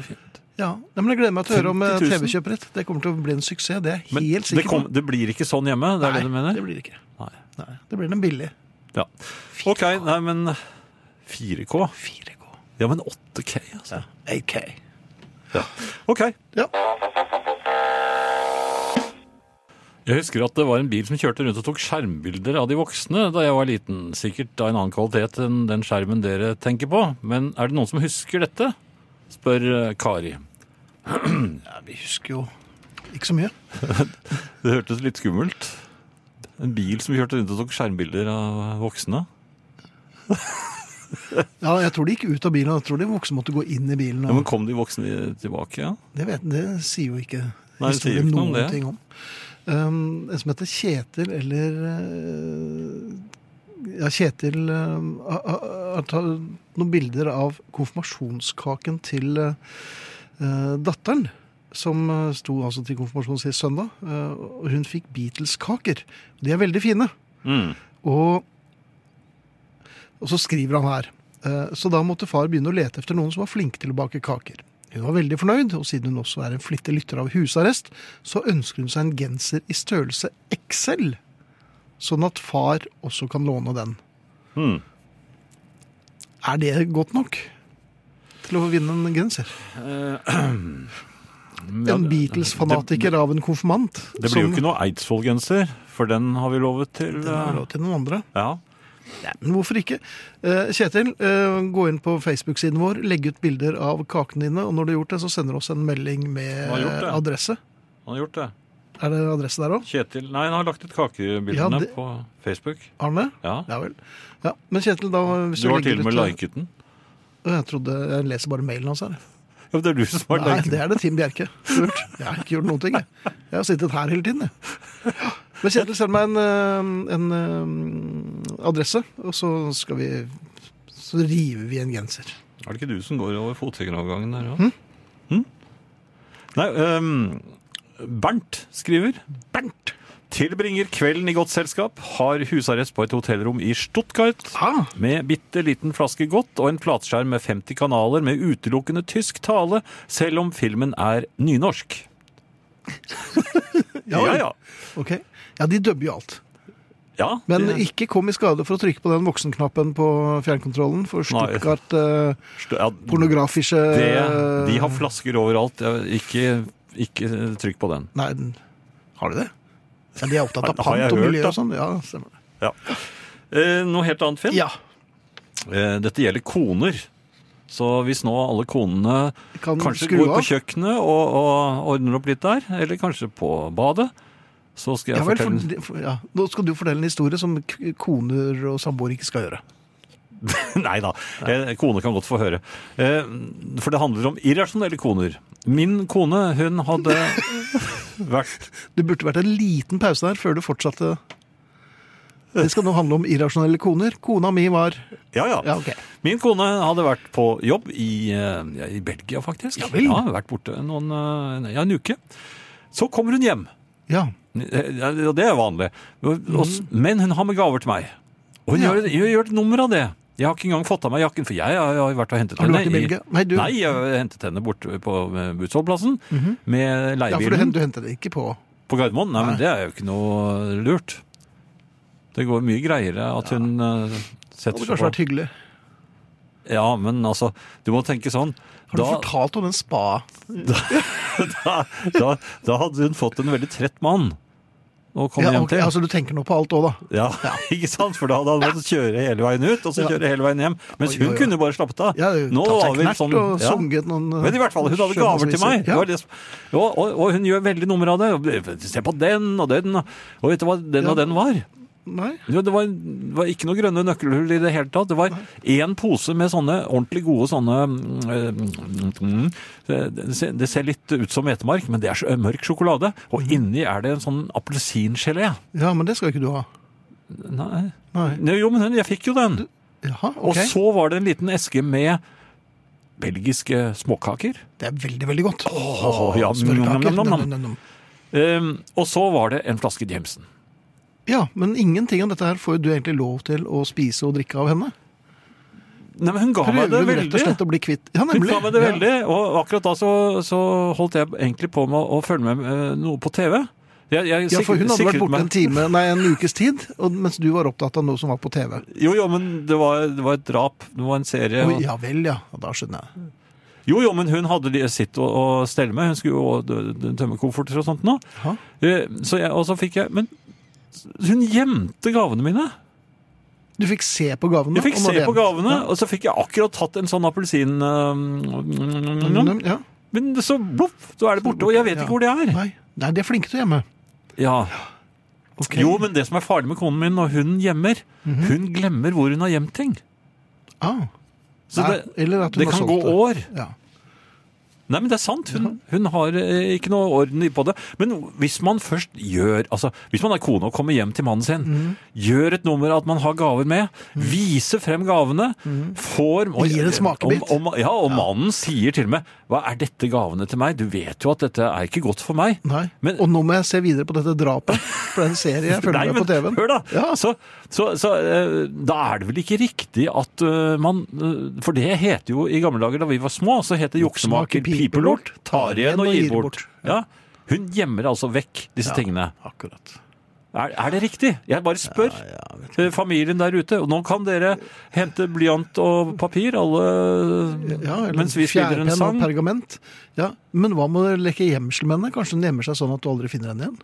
Speaker 3: fint.
Speaker 2: Ja. Nei, men Jeg gleder meg til å høre om eh,
Speaker 3: 50 000.
Speaker 2: TV-kjøpet ditt. Det kommer til å bli en suksess. Det er jeg
Speaker 3: Men
Speaker 2: helt
Speaker 3: det,
Speaker 2: sikker
Speaker 3: kom, det blir ikke sånn hjemme? Det er det du
Speaker 2: Nei,
Speaker 3: mener?
Speaker 2: det blir det ikke.
Speaker 3: Nei.
Speaker 2: Nei, det blir den billig.
Speaker 3: Ja. OK, nei, men 4K?
Speaker 2: 4K.
Speaker 3: Ja, men 8K, altså.
Speaker 2: 8K.
Speaker 3: OK.
Speaker 2: Ja.
Speaker 3: Jeg husker at det var en bil som kjørte rundt og tok skjermbilder av de voksne da jeg var liten. Sikkert av en annen kvalitet enn den skjermen dere tenker på. Men er det noen som husker dette? spør eh, Kari.
Speaker 2: ja, vi husker jo ikke så mye.
Speaker 3: Det hørtes litt skummelt. En bil som kjørte rundt og tok skjermbilder av voksne.
Speaker 2: Ja, Jeg tror de gikk ut av bilen, og jeg tror de voksne måtte gå inn i bilen.
Speaker 3: Ja,
Speaker 2: Og
Speaker 3: men kom de voksne tilbake? Ja?
Speaker 2: det, vet, det sier jo ikke
Speaker 3: Nei, det sier jo
Speaker 2: historien
Speaker 3: ikke noe
Speaker 2: noen
Speaker 3: om det.
Speaker 2: ting om. Um, en som heter Kjetil eller eh, Ja, Kjetil eh, har- har har tatt noen bilder av konfirmasjonskaken til eh, eh, datteren. som eh, sto altså til konfirmasjon sist søndag. eh, og Hun fikk Beatles-kaker. De er veldig fine.
Speaker 3: Mm.
Speaker 2: Og, og så skriver han her. eh, Så da måtte far begynne å lete etter noen som var flink til å bake kaker. Hun var veldig fornøyd, og siden hun også er en flittig lytter av husarrest, så ønsker hun seg en genser i størrelse XL, sånn at far også kan låne den.
Speaker 3: Hmm.
Speaker 2: Er det godt nok til å vinne en genser?
Speaker 3: [CLEARS THROAT] Ja,
Speaker 2: En
Speaker 3: Eh, det-
Speaker 2: Beatles-fanatiker av en konfirmant?
Speaker 3: Det blir jo ikke noe Eidsvoll-genser, for den har vi lovet til.
Speaker 2: Den er lov til noen andre.
Speaker 3: eh, Ja.
Speaker 2: Men hvorfor ikke? Eh, Kjetil, eh, gå inn på Facebook-siden vår, legg ut bilder av kakene dine, og når du har gjort det, så sender du oss en melding med
Speaker 3: Har gjort det.
Speaker 2: eh, adresse.
Speaker 3: Han har gjort det.
Speaker 2: Er det adresse der òg?
Speaker 3: Kjetil Nei, han har lagt ut kakebildene
Speaker 2: Ja, det-
Speaker 3: på Facebook.
Speaker 2: Arne?
Speaker 3: Ja.
Speaker 2: Ja vel. Ja, men Kjetil, da hvis
Speaker 3: Du har
Speaker 2: legger
Speaker 3: til og med
Speaker 2: ut- eh,
Speaker 3: liket den.
Speaker 2: Å, Jeg trodde jeg leser bare mailen hans her.
Speaker 3: Ja, det er du som har
Speaker 2: Nei,
Speaker 3: liket
Speaker 2: det
Speaker 3: den.
Speaker 2: er det Tim Bjerke. Lurt. Jeg har ikke gjort noen ting, jeg. Jeg har sittet her hele tiden, jeg. Men Kjetil, send meg en, eh, en eh, adresse, og så skal vi Så river vi en genser.
Speaker 3: Er det ikke du som går over fotgjengerovergangen der
Speaker 2: Hm?
Speaker 3: òg? Nei, ehm, Bernt skriver. Bernt! Tilbringer kvelden i godt selskap. Har husarrest på et hotellrom i Stuttgart.
Speaker 2: Ah,
Speaker 3: Med bitte liten flaske godt og en flatskjerm med 50 kanaler med utelukkende tysk tale, selv om filmen er nynorsk.
Speaker 2: ja,
Speaker 3: ja,
Speaker 2: vel.
Speaker 3: ja.
Speaker 2: Ok. Ja, de dubber jo alt.
Speaker 3: ja
Speaker 2: Men
Speaker 3: det-
Speaker 2: ikke kom i skade for å trykke på den voksenknappen på fjernkontrollen for
Speaker 3: Nei.
Speaker 2: Stuttgart eh,
Speaker 3: ja,
Speaker 2: pornografische
Speaker 3: det, De har flasker overalt. Ja, Ikke, ikke trykk på den.
Speaker 2: Nei, den- har de det? Ja, de er opptatt av
Speaker 3: Har- har jeg
Speaker 2: pant og
Speaker 3: hørt,
Speaker 2: miljø
Speaker 3: da?
Speaker 2: og sånn. Ja, stemmer det.
Speaker 3: Ja. Eh, noe helt annet, Finn.
Speaker 2: Ja,
Speaker 3: Eh, dette gjelder koner. Så hvis nå alle konene
Speaker 2: kan
Speaker 3: kanskje
Speaker 2: skru
Speaker 3: går på
Speaker 2: av.
Speaker 3: kjøkkenet og, og ordner opp litt der, eller kanskje på badet, så skal jeg
Speaker 2: Ja, vel, for,
Speaker 3: fortelle
Speaker 2: de- for, ja. Nå skal du fortelle en historie som k- koner og samboere ikke skal gjøre.
Speaker 3: [LAUGHS] Nei da. Eh, Kone kan godt få høre. Eh, For det handler om irrasjonelle koner. Min kone, hun
Speaker 2: [LAUGHS]
Speaker 3: hadde vært
Speaker 2: Det burde vært en liten pause der før du fortsatte. Det skal nå handle om irrasjonelle koner. Kona mi var
Speaker 3: Ja, ja.
Speaker 2: Ja, ok.
Speaker 3: Min kone hadde vært på jobb i, eh, ja, i Belgia, faktisk.
Speaker 2: Ja vel.
Speaker 3: vært borte noen, eh, ja, en uke. Så kommer hun hjem.
Speaker 2: Ja.
Speaker 3: Eh, ja, Og det er vanlig. Og- og s- Men hun har med gaver til meg. Og hun
Speaker 2: Mhm. Ja.
Speaker 3: gjør, hun gjør et nummer av det. Jeg har ikke engang fått av meg jakken, for jeg har jo vært og hentet
Speaker 2: Har du vært
Speaker 3: henne.
Speaker 2: i Belgia? Nei, du-
Speaker 3: Nei, jeg har hentet henne borte på eh, Butzvollplassen med
Speaker 2: Mhm. ja, for
Speaker 3: leiebilen.
Speaker 2: du, hen- du hentet det ikke på
Speaker 3: På Gardermoen? Nei, men det er jo ikke noe lurt. Det går mye greiere at hun eh,
Speaker 2: Det hadde
Speaker 3: setter seg
Speaker 2: kanskje
Speaker 3: på.
Speaker 2: vært hyggelig.
Speaker 3: Ja, men altså, du må tenke sånn.
Speaker 2: Har du
Speaker 3: Da,
Speaker 2: fortalt om den spa?
Speaker 3: da, [LAUGHS] da, da hadde hun fått en veldig trett mann å komme
Speaker 2: Ja,
Speaker 3: hjem
Speaker 2: ok,
Speaker 3: til.
Speaker 2: altså, du tenker nå på alt òg, da?
Speaker 3: Ja, [LAUGHS] ikke sant? For da hadde han måttet kjøre hele veien ut, og så
Speaker 2: Ja.
Speaker 3: kjøre hele veien hjem. Mens
Speaker 2: Oi, oi,
Speaker 3: hun
Speaker 2: oi.
Speaker 3: kunne bare slappet av.
Speaker 2: Ja,
Speaker 3: Nå
Speaker 2: tatt
Speaker 3: var
Speaker 2: seg
Speaker 3: vi
Speaker 2: knert
Speaker 3: sånn
Speaker 2: og
Speaker 3: ja.
Speaker 2: sunget noen, eh,
Speaker 3: Men i hvert fall, hun hadde gaver til meg.
Speaker 2: sjømannsviser. Ja.
Speaker 3: Det var det som- Ja, og, og hun gjør veldig nummer av det. Se på den og den, og vet du hva den og
Speaker 2: Ja.
Speaker 3: den var?
Speaker 2: Nei?
Speaker 3: Jo, det var, det var ikke noe grønne nøkkelhull i det hele tatt. Det var én pose med sånne ordentlig gode sånne mm, mm, det, ser- det ser litt ut som hvetemark, men det er så- mørk sjokolade.
Speaker 2: Mhm.
Speaker 3: Og inni er det en sånn appelsingelé.
Speaker 2: Ja, men det skal ikke du ha.
Speaker 3: Nei.
Speaker 2: Nei.
Speaker 3: Nei, Jo, men jeg fikk jo den.
Speaker 2: Jaha,
Speaker 3: Og
Speaker 2: ok.
Speaker 3: så var det en liten eske med belgiske småkaker.
Speaker 2: Det er veldig, veldig godt.
Speaker 3: Åh, ja, nom,
Speaker 2: Smørkaker.
Speaker 3: nom, nom,
Speaker 2: Nom,
Speaker 3: nom.
Speaker 2: nom, nom.
Speaker 3: Um, og så var det en flaske Jameson.
Speaker 2: Ja, men ingenting av dette her får jo du egentlig lov til å spise og drikke av henne.
Speaker 3: Nei, men hun ga
Speaker 2: Prøver
Speaker 3: meg det
Speaker 2: rett og
Speaker 3: veldig.
Speaker 2: slett å bli kvitt. Ja,
Speaker 3: Hun
Speaker 2: nemlig.
Speaker 3: sa meg det
Speaker 2: Ja.
Speaker 3: veldig, og akkurat da så, så holdt jeg egentlig på med å følge med eh, noe på TV. Jeg, jeg
Speaker 2: Ja, for
Speaker 3: sikret-
Speaker 2: hun hadde vært
Speaker 3: sikret
Speaker 2: borte
Speaker 3: meg-
Speaker 2: en time, nei, en ukes tid, og, mens du var opptatt av noe som var på TV.
Speaker 3: Jo, jo, men det var, det var et drap. Det var en serie.
Speaker 2: Oi,
Speaker 3: og-
Speaker 2: ja vel, ja. Ja, Da skjønner jeg.
Speaker 3: Jo, jo, men hun hadde li- sitt å, å stelle med. Hun skulle jo å- d- d- tømme kofferter og sånt nå.
Speaker 2: Jaha.
Speaker 3: Eh, Så jeg, og så fikk jeg Men hun gjemte gavene mine!
Speaker 2: Du fikk se på gavene.
Speaker 3: Jeg fikk
Speaker 2: og når
Speaker 3: se
Speaker 2: det-
Speaker 3: på gavene, og så fikk jeg akkurat tatt en sånn appelsin... eh,
Speaker 2: Ja. Mm, Ja.
Speaker 3: Men så bloff, så er det borte, og jeg vet
Speaker 2: Ja.
Speaker 3: ikke hvor det er.
Speaker 2: Nei. nei, de er flinke til å gjemme.
Speaker 3: Ja,
Speaker 2: Ok. Mhm.
Speaker 3: Jo, men det som er farlig med konen min når hun gjemmer, hun glemmer hvor hun har gjemt ting.
Speaker 2: Ah.
Speaker 3: Så
Speaker 2: Nei,
Speaker 3: det,
Speaker 2: eller at hun
Speaker 3: det
Speaker 2: har
Speaker 3: kan
Speaker 2: solgt
Speaker 3: gå
Speaker 2: det.
Speaker 3: år.
Speaker 2: Ja.
Speaker 3: Nei, men det er sant. Hun, hun har eh, ikke noe orden i- på det. Men hvis man først gjør Altså, hvis man er kone og kommer hjem til mannen sin, gjør et nummer av at man har gaver med, viser frem gavene, får og-
Speaker 2: Gir en smakebit.
Speaker 3: Om, om, ja, og mannen sier til og med 'Hva er dette gavene til meg?' Du vet jo at dette er ikke godt for meg.
Speaker 2: Nei.
Speaker 3: Men-
Speaker 2: og nå må jeg se videre på dette drapet, for det er en serie jeg følger
Speaker 3: [LAUGHS] Nei,
Speaker 2: med på
Speaker 3: men
Speaker 2: TV-en.
Speaker 3: Hør, da!
Speaker 2: Ja.
Speaker 3: Så, så, så eh, da er det vel ikke riktig at eh, man eh, For det het jo i gamle dager da vi var små, så het det
Speaker 2: Joksemaker,
Speaker 3: joksemaker, pipelort, tar igjen og gir bort.
Speaker 2: Ja.
Speaker 3: Ja. Hun gjemmer altså vekk disse tingene.
Speaker 2: Akkurat.
Speaker 3: Er, er det riktig? Jeg bare spør eh, familien der ute. Og nå kan dere hente blyant og papir, alle
Speaker 2: Ja, eller
Speaker 3: mens vi spiller en
Speaker 2: fjærpenn og
Speaker 3: sang.
Speaker 2: Pergament. Ja, men hva med å leke gjemsel med henne? Kanskje hun gjemmer seg sånn at du aldri finner henne igjen?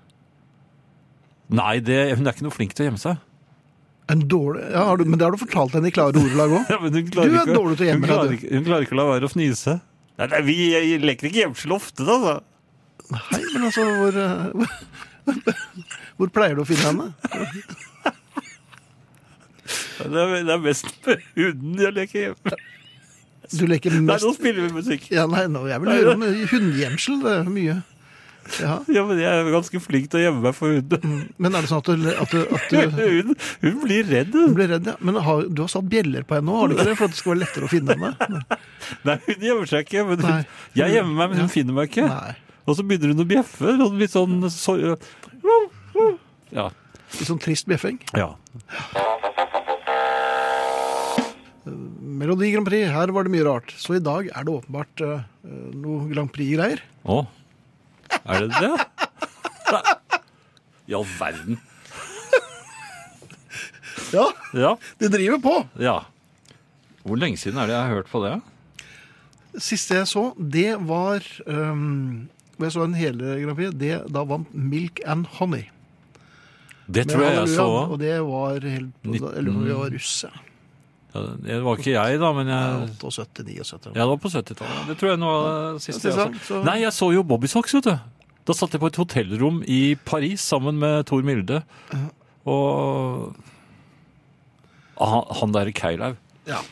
Speaker 3: Nei, det, hun er ikke noe flink til å gjemme seg.
Speaker 2: En dårlig, ja, har du, men det har du fortalt henne i klare ordelag òg.
Speaker 3: [LAUGHS] Ja, men hun
Speaker 2: Du er
Speaker 3: ikke
Speaker 2: dårlig til å gjemme
Speaker 3: hun klarer
Speaker 2: deg, du.
Speaker 3: ikke- Hun klarer ikke å la være å fnise. Nei, nei, vi jeg leker ikke gjemsel ofte, da. altså.
Speaker 2: Nei, men altså, hvor, eh, [LAUGHS] hvor, hvor pleier du å finne henne?
Speaker 3: Det er, det er mest [LAUGHS] med hunden jeg leker gjemsel.
Speaker 2: Du leker
Speaker 3: Nei,
Speaker 2: mest
Speaker 3: nå spiller vi musikk.
Speaker 2: ja, Nei, nå, jeg vil høre om hundegjemsel. Det er mye. Ja,
Speaker 3: Ja, men jeg er ganske flink til å gjemme meg for hunden.
Speaker 2: men er det sånn at du, at du, at du
Speaker 3: [LAUGHS] Hun, hun blir redd.
Speaker 2: Hun ble redd, ja. Men har, du har satt bjeller på henne nå, har du ikke det? For at det skal være lettere å finne henne.
Speaker 3: Nei, hun gjemmer seg ikke. Men hun,
Speaker 2: Nei.
Speaker 3: jeg gjemmer meg, men hun finner meg ikke.
Speaker 2: Nei.
Speaker 3: Og så begynner hun å bjeffe. sånn Litt sånn så, ja.
Speaker 2: Litt sånn trist bjeffing.
Speaker 3: ja.
Speaker 2: Melodi Grand Prix, her var det mye rart. Så i dag er det åpenbart eh, noe Grand Prix-greier.
Speaker 3: Å. Er det det? I all verden.
Speaker 2: Ja,
Speaker 3: Ja.
Speaker 2: de driver på!
Speaker 3: ja. Hvor lenge siden er det jeg har hørt på det?
Speaker 2: Siste jeg så, det var um, Hvor jeg så en hele Grand Prix, det, da vant Milk and Honey.
Speaker 3: Det
Speaker 2: Med
Speaker 3: tror jeg jeg
Speaker 2: halleluja,
Speaker 3: så
Speaker 2: Og det var helt Eller om vi var russ, ja.
Speaker 3: Ja, Det var ikke jeg, da, men jeg
Speaker 2: 78-79.
Speaker 3: Ja, det var på 70-tallet. Det tror jeg nå var det siste jeg
Speaker 2: Ja,
Speaker 3: så.
Speaker 2: så-
Speaker 3: Nei, jeg så jo Bobby Socks, vet du. Da satt jeg på et hotellrom i Paris sammen med Tor Milde og Ah, Han, han derre Keilaug.
Speaker 2: Ja,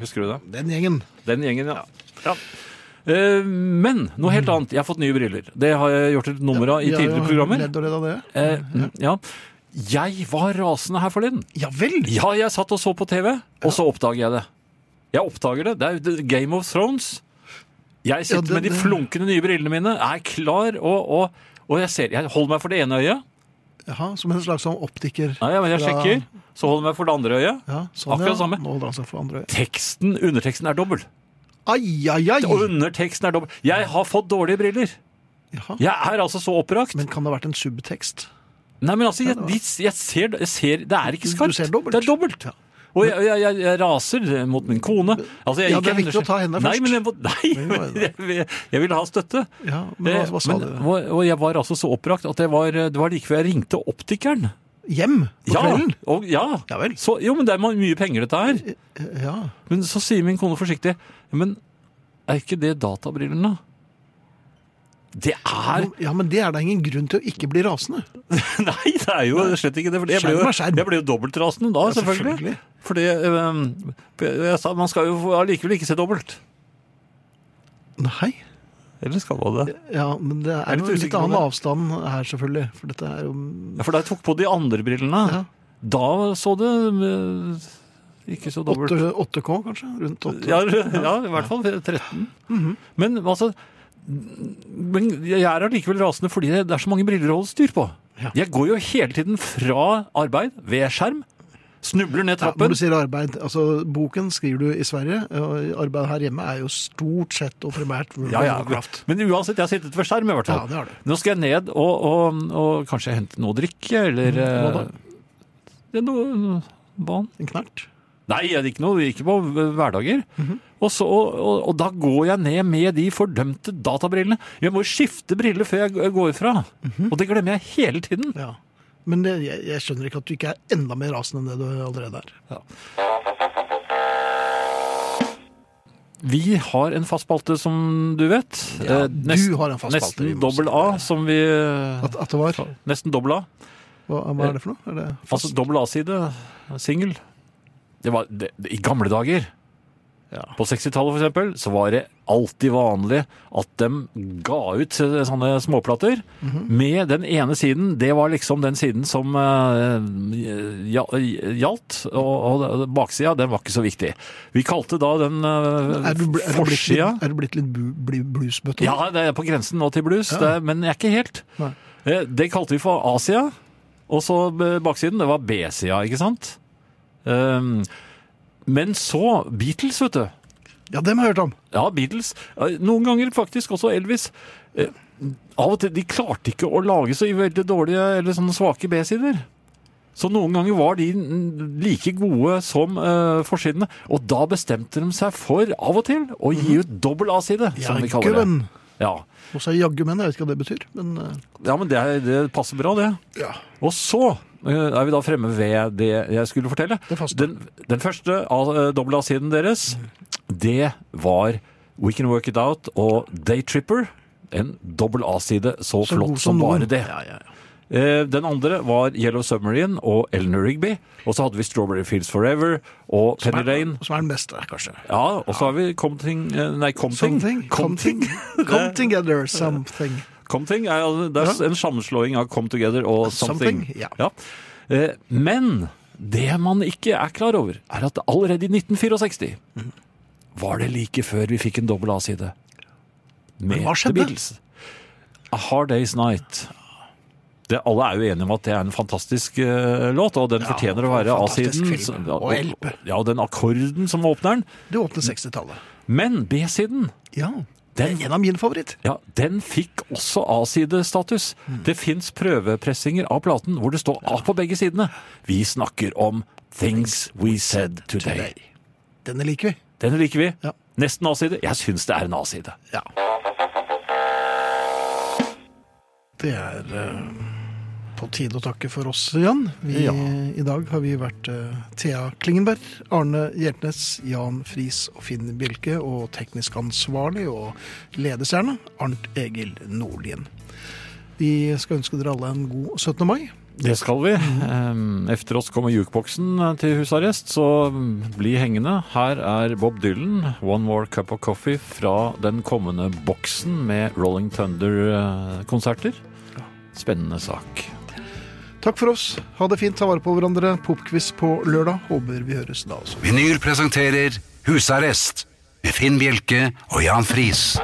Speaker 3: Husker du det?
Speaker 2: den gjengen.
Speaker 3: Den gjengen, ja. ja. Eh, Men noe helt annet. Jeg har fått nye briller. Det har jeg gjort et nummer av i
Speaker 2: Vi har jo
Speaker 3: tidligere programmer.
Speaker 2: Ledd og ledd av det.
Speaker 3: Eh, ja. Jeg var rasende her forleden.
Speaker 2: Ja vel!
Speaker 3: Ja, jeg satt og så på TV, og så oppdager jeg det. Jeg oppdager det. Det er jo The Game of Thrones. Jeg sitter
Speaker 2: Ja, det-
Speaker 3: med de
Speaker 2: det-
Speaker 3: flunkende nye brillene mine, er klar, og, og, og jeg, ser, jeg holder meg for det ene øyet.
Speaker 2: Jaha, som en slags sånn optiker.
Speaker 3: Nei, men jeg
Speaker 2: Ja.
Speaker 3: sjekker. Så holder jeg meg for det andre øyet.
Speaker 2: Ja, sånn,
Speaker 3: Akkurat
Speaker 2: ja.
Speaker 3: samme.
Speaker 2: Nå holder han seg for andre øyet.
Speaker 3: Teksten, underteksten er dobbel.
Speaker 2: Ai, ai, ai!
Speaker 3: Og underteksten er dobbel. Jeg har fått dårlige briller.
Speaker 2: Jaha.
Speaker 3: Jeg er altså så opprakt.
Speaker 2: Men kan det ha vært en subtekst?
Speaker 3: Nei, men altså, jeg, de, jeg, ser, jeg ser Det er ikke
Speaker 2: Du- du
Speaker 3: skarpt.
Speaker 2: ser dobbelt.
Speaker 3: Det er dobbelt. Og jeg, jeg, jeg, jeg raser mot min kone. Altså, jeg
Speaker 2: Ja,
Speaker 3: gikk
Speaker 2: det er
Speaker 3: henne-
Speaker 2: viktig å ta henne
Speaker 3: Nei,
Speaker 2: først.
Speaker 3: men jeg, må- nei,
Speaker 2: jo
Speaker 3: men [LAUGHS] jeg, jeg ville ha støtte.
Speaker 2: Ja, men hva,
Speaker 3: Eh,
Speaker 2: hva sa
Speaker 3: men-
Speaker 2: du?
Speaker 3: Og, og jeg var altså så oppbrakt at det var, det var like før jeg ringte optikeren.
Speaker 2: Hjem på
Speaker 3: Ja,
Speaker 2: kvelden?
Speaker 3: og, ja.
Speaker 2: Ja vel.
Speaker 3: Så, jo, men det er ma- mye penger dette her.
Speaker 2: Ja.
Speaker 3: Men så sier min kone forsiktig, men er ikke det databrillene? Det er
Speaker 2: ja, men det er da ingen grunn til å ikke bli rasende.
Speaker 3: [LAUGHS] Nei, det er jo slett ikke det. For jeg, ble
Speaker 2: Skjerm
Speaker 3: jo,
Speaker 2: er skjerm.
Speaker 3: jeg ble jo dobbeltrasende da,
Speaker 2: Ja,
Speaker 3: selvfølgelig.
Speaker 2: selvfølgelig.
Speaker 3: Fordi øhm, jeg sa, man skal jo allikevel ikke se dobbelt.
Speaker 2: Nei.
Speaker 3: Eller skal man det?
Speaker 2: Ja, men det
Speaker 3: er
Speaker 2: er
Speaker 3: litt
Speaker 2: jo en
Speaker 3: usikker
Speaker 2: litt
Speaker 3: på
Speaker 2: annen
Speaker 3: det.
Speaker 2: avstand her, selvfølgelig. For dette er jo
Speaker 3: Ja, for da jeg tok på de andre brillene,
Speaker 2: Ja.
Speaker 3: da så det øh, ikke så dobbelt.
Speaker 2: 8, 8K, kanskje? Rundt 8.
Speaker 3: Ja, ja, i hvert fall 13. Men altså men jeg er allikevel rasende fordi det er så mange briller å holde styr på. Jeg går jo hele tiden fra arbeid ved skjerm, snubler ned
Speaker 2: Ja, når
Speaker 3: trappen.
Speaker 2: du sier arbeid, altså Boken skriver du i Sverige, og arbeid her hjemme er jo stort sett og primært World
Speaker 3: Ja,
Speaker 2: of
Speaker 3: ja.
Speaker 2: Warcraft.
Speaker 3: Men uansett, jeg har sittet ved skjerm i hvert fall.
Speaker 2: Ja, det har du.
Speaker 3: Nå skal jeg ned og, og, og kanskje hente noe å drikke, eller
Speaker 2: Mm, hva da?
Speaker 3: eh, ja, noe vann.
Speaker 2: En knert.
Speaker 3: Nei, jeg gikk, noe, ikke på hverdager.
Speaker 2: Mhm.
Speaker 3: og, så, og, og, og da går jeg ned med de fordømte databrillene. Jeg må jo skifte briller før jeg g- går fra.
Speaker 2: Mhm.
Speaker 3: Og det glemmer jeg hele tiden.
Speaker 2: Ja. Men det, jeg, jeg skjønner ikke at du ikke er enda mer rasende enn det du allerede er.
Speaker 3: Vi har en fast spalte, som du vet.
Speaker 2: Ja,
Speaker 3: Eh,
Speaker 2: du har en fast spalte, vi
Speaker 3: Nesten
Speaker 2: må
Speaker 3: dobbel A, som vi eh,
Speaker 2: At, at det var
Speaker 3: Nesten dobbel A.
Speaker 2: Hva, hva er det for noe? Er det
Speaker 3: Altså dobbel A-side, singel. Det var det, det, i gamle dager. På 60-tallet for eksempel, så var det alltid vanlig at de ga ut eh, sånne småplater
Speaker 2: Mhm.
Speaker 3: med den ene siden. Det var liksom den siden som eh, gja- gjaldt, og, og baksida, den var ikke så viktig. Vi kalte da den
Speaker 2: Er du, bl- er du,
Speaker 3: uh,
Speaker 2: blitt,
Speaker 3: forsida
Speaker 2: litt, er du blitt litt bu- bli- bluesbøtte?
Speaker 3: ja, det er på grensen nå til blues, det, er- men jeg er ikke helt.
Speaker 2: Nei.
Speaker 3: Eh, Det kalte vi for Asia, og så eh, baksiden, det var B-sida, ikke sant? Um, men så Beatles, vet du.
Speaker 2: ja, dem har jeg hørt om.
Speaker 3: Ja, Beatles. Eh, Noen ganger faktisk også Elvis. Eh, Av og til, de klarte ikke å lage så veldig dårlige eller sånne svake B-sider. Så noen ganger var de mm, like gode som eh, forsidene, og da bestemte de seg for, av og til, å gi ut dobbel A-side, som vi kaller det.
Speaker 2: Jaggumenn.
Speaker 3: Ja,
Speaker 2: Og så er jaggumenn, jeg vet ikke hva det betyr. Men eh,
Speaker 3: ja, men det, er- det passer bra, det.
Speaker 2: Ja.
Speaker 3: Og så eh, er vi da fremme ved det jeg skulle fortelle.
Speaker 2: Det faste.
Speaker 3: Den, den første av eh, dobbel A-siden deres, det var We Can Work It Out og Day Tripper. En dobbel A-side så,
Speaker 2: Så god
Speaker 3: flott
Speaker 2: som
Speaker 3: som bare
Speaker 2: noen.
Speaker 3: det. Eh, Den andre var Yellow Submarine og Eleanor Rigby. Og så hadde vi Strawberry Fields Forever og Penny Lane.
Speaker 2: som er den beste, kanskje.
Speaker 3: Ja, og så har vi Comting eh, Nei, Comting.
Speaker 2: Something.
Speaker 3: Comting.
Speaker 2: Something.
Speaker 3: [LAUGHS]
Speaker 2: Come together, something.
Speaker 3: Comting er, det er en sammenslåing av Come Together og Something.
Speaker 2: Something, ja.
Speaker 3: Eh, Men det man ikke er klar over, er at allerede i 1964 var det like før vi fikk en dobbel A-side. Med
Speaker 2: Men hva skjedde?
Speaker 3: The Beatles. A Hard Day's Night. Det, alle er jo enige om at det er en fantastisk eh, låt, og den fortjener å være
Speaker 2: fantastisk
Speaker 3: A-siden.
Speaker 2: film,
Speaker 3: Så-
Speaker 2: og LP.
Speaker 3: Ja, og den akkorden som åpner den.
Speaker 2: Det åpne 60-tallet.
Speaker 3: Men B-siden
Speaker 2: Ja. Det
Speaker 3: Den-
Speaker 2: er en av mine favoritter.
Speaker 3: ja, den fikk også A-sidestatus. Det fins prøvepressinger av platen hvor det står A på begge sidene. Vi snakker om Things We Said Today.
Speaker 2: Denne liker vi.
Speaker 3: Den liker vi.
Speaker 2: Ja.
Speaker 3: Nesten A-side. Jeg syns det er en A-side.
Speaker 2: Ja. Det er eh, på tide å takke for oss, Jan. Vi,
Speaker 3: Ja.
Speaker 2: I dag har vi vært eh, Thea Klingenberg, Arne Hjertnes, Jan Friis og Finn Bjelke, og teknisk ansvarlig og ledestjerne Arnt Egil Nordlien. Vi skal ønske dere alle en god 17. mai.
Speaker 3: Det skal vi. Ehm, Efter oss kommer jukeboksen eh, til husarrest, så mm, bli hengende. Her er Bob Dylan, 'One More Cup of Coffee', fra den kommende boksen med Rolling Thunder-konserter. Spennende sak.
Speaker 2: Takk for oss. Ha det fint, ta vare på hverandre. Popquiz på lørdag. Håper vi høres da også.
Speaker 1: Vinyl presenterer Husarrest med Finn Bjelke og Jan Friis.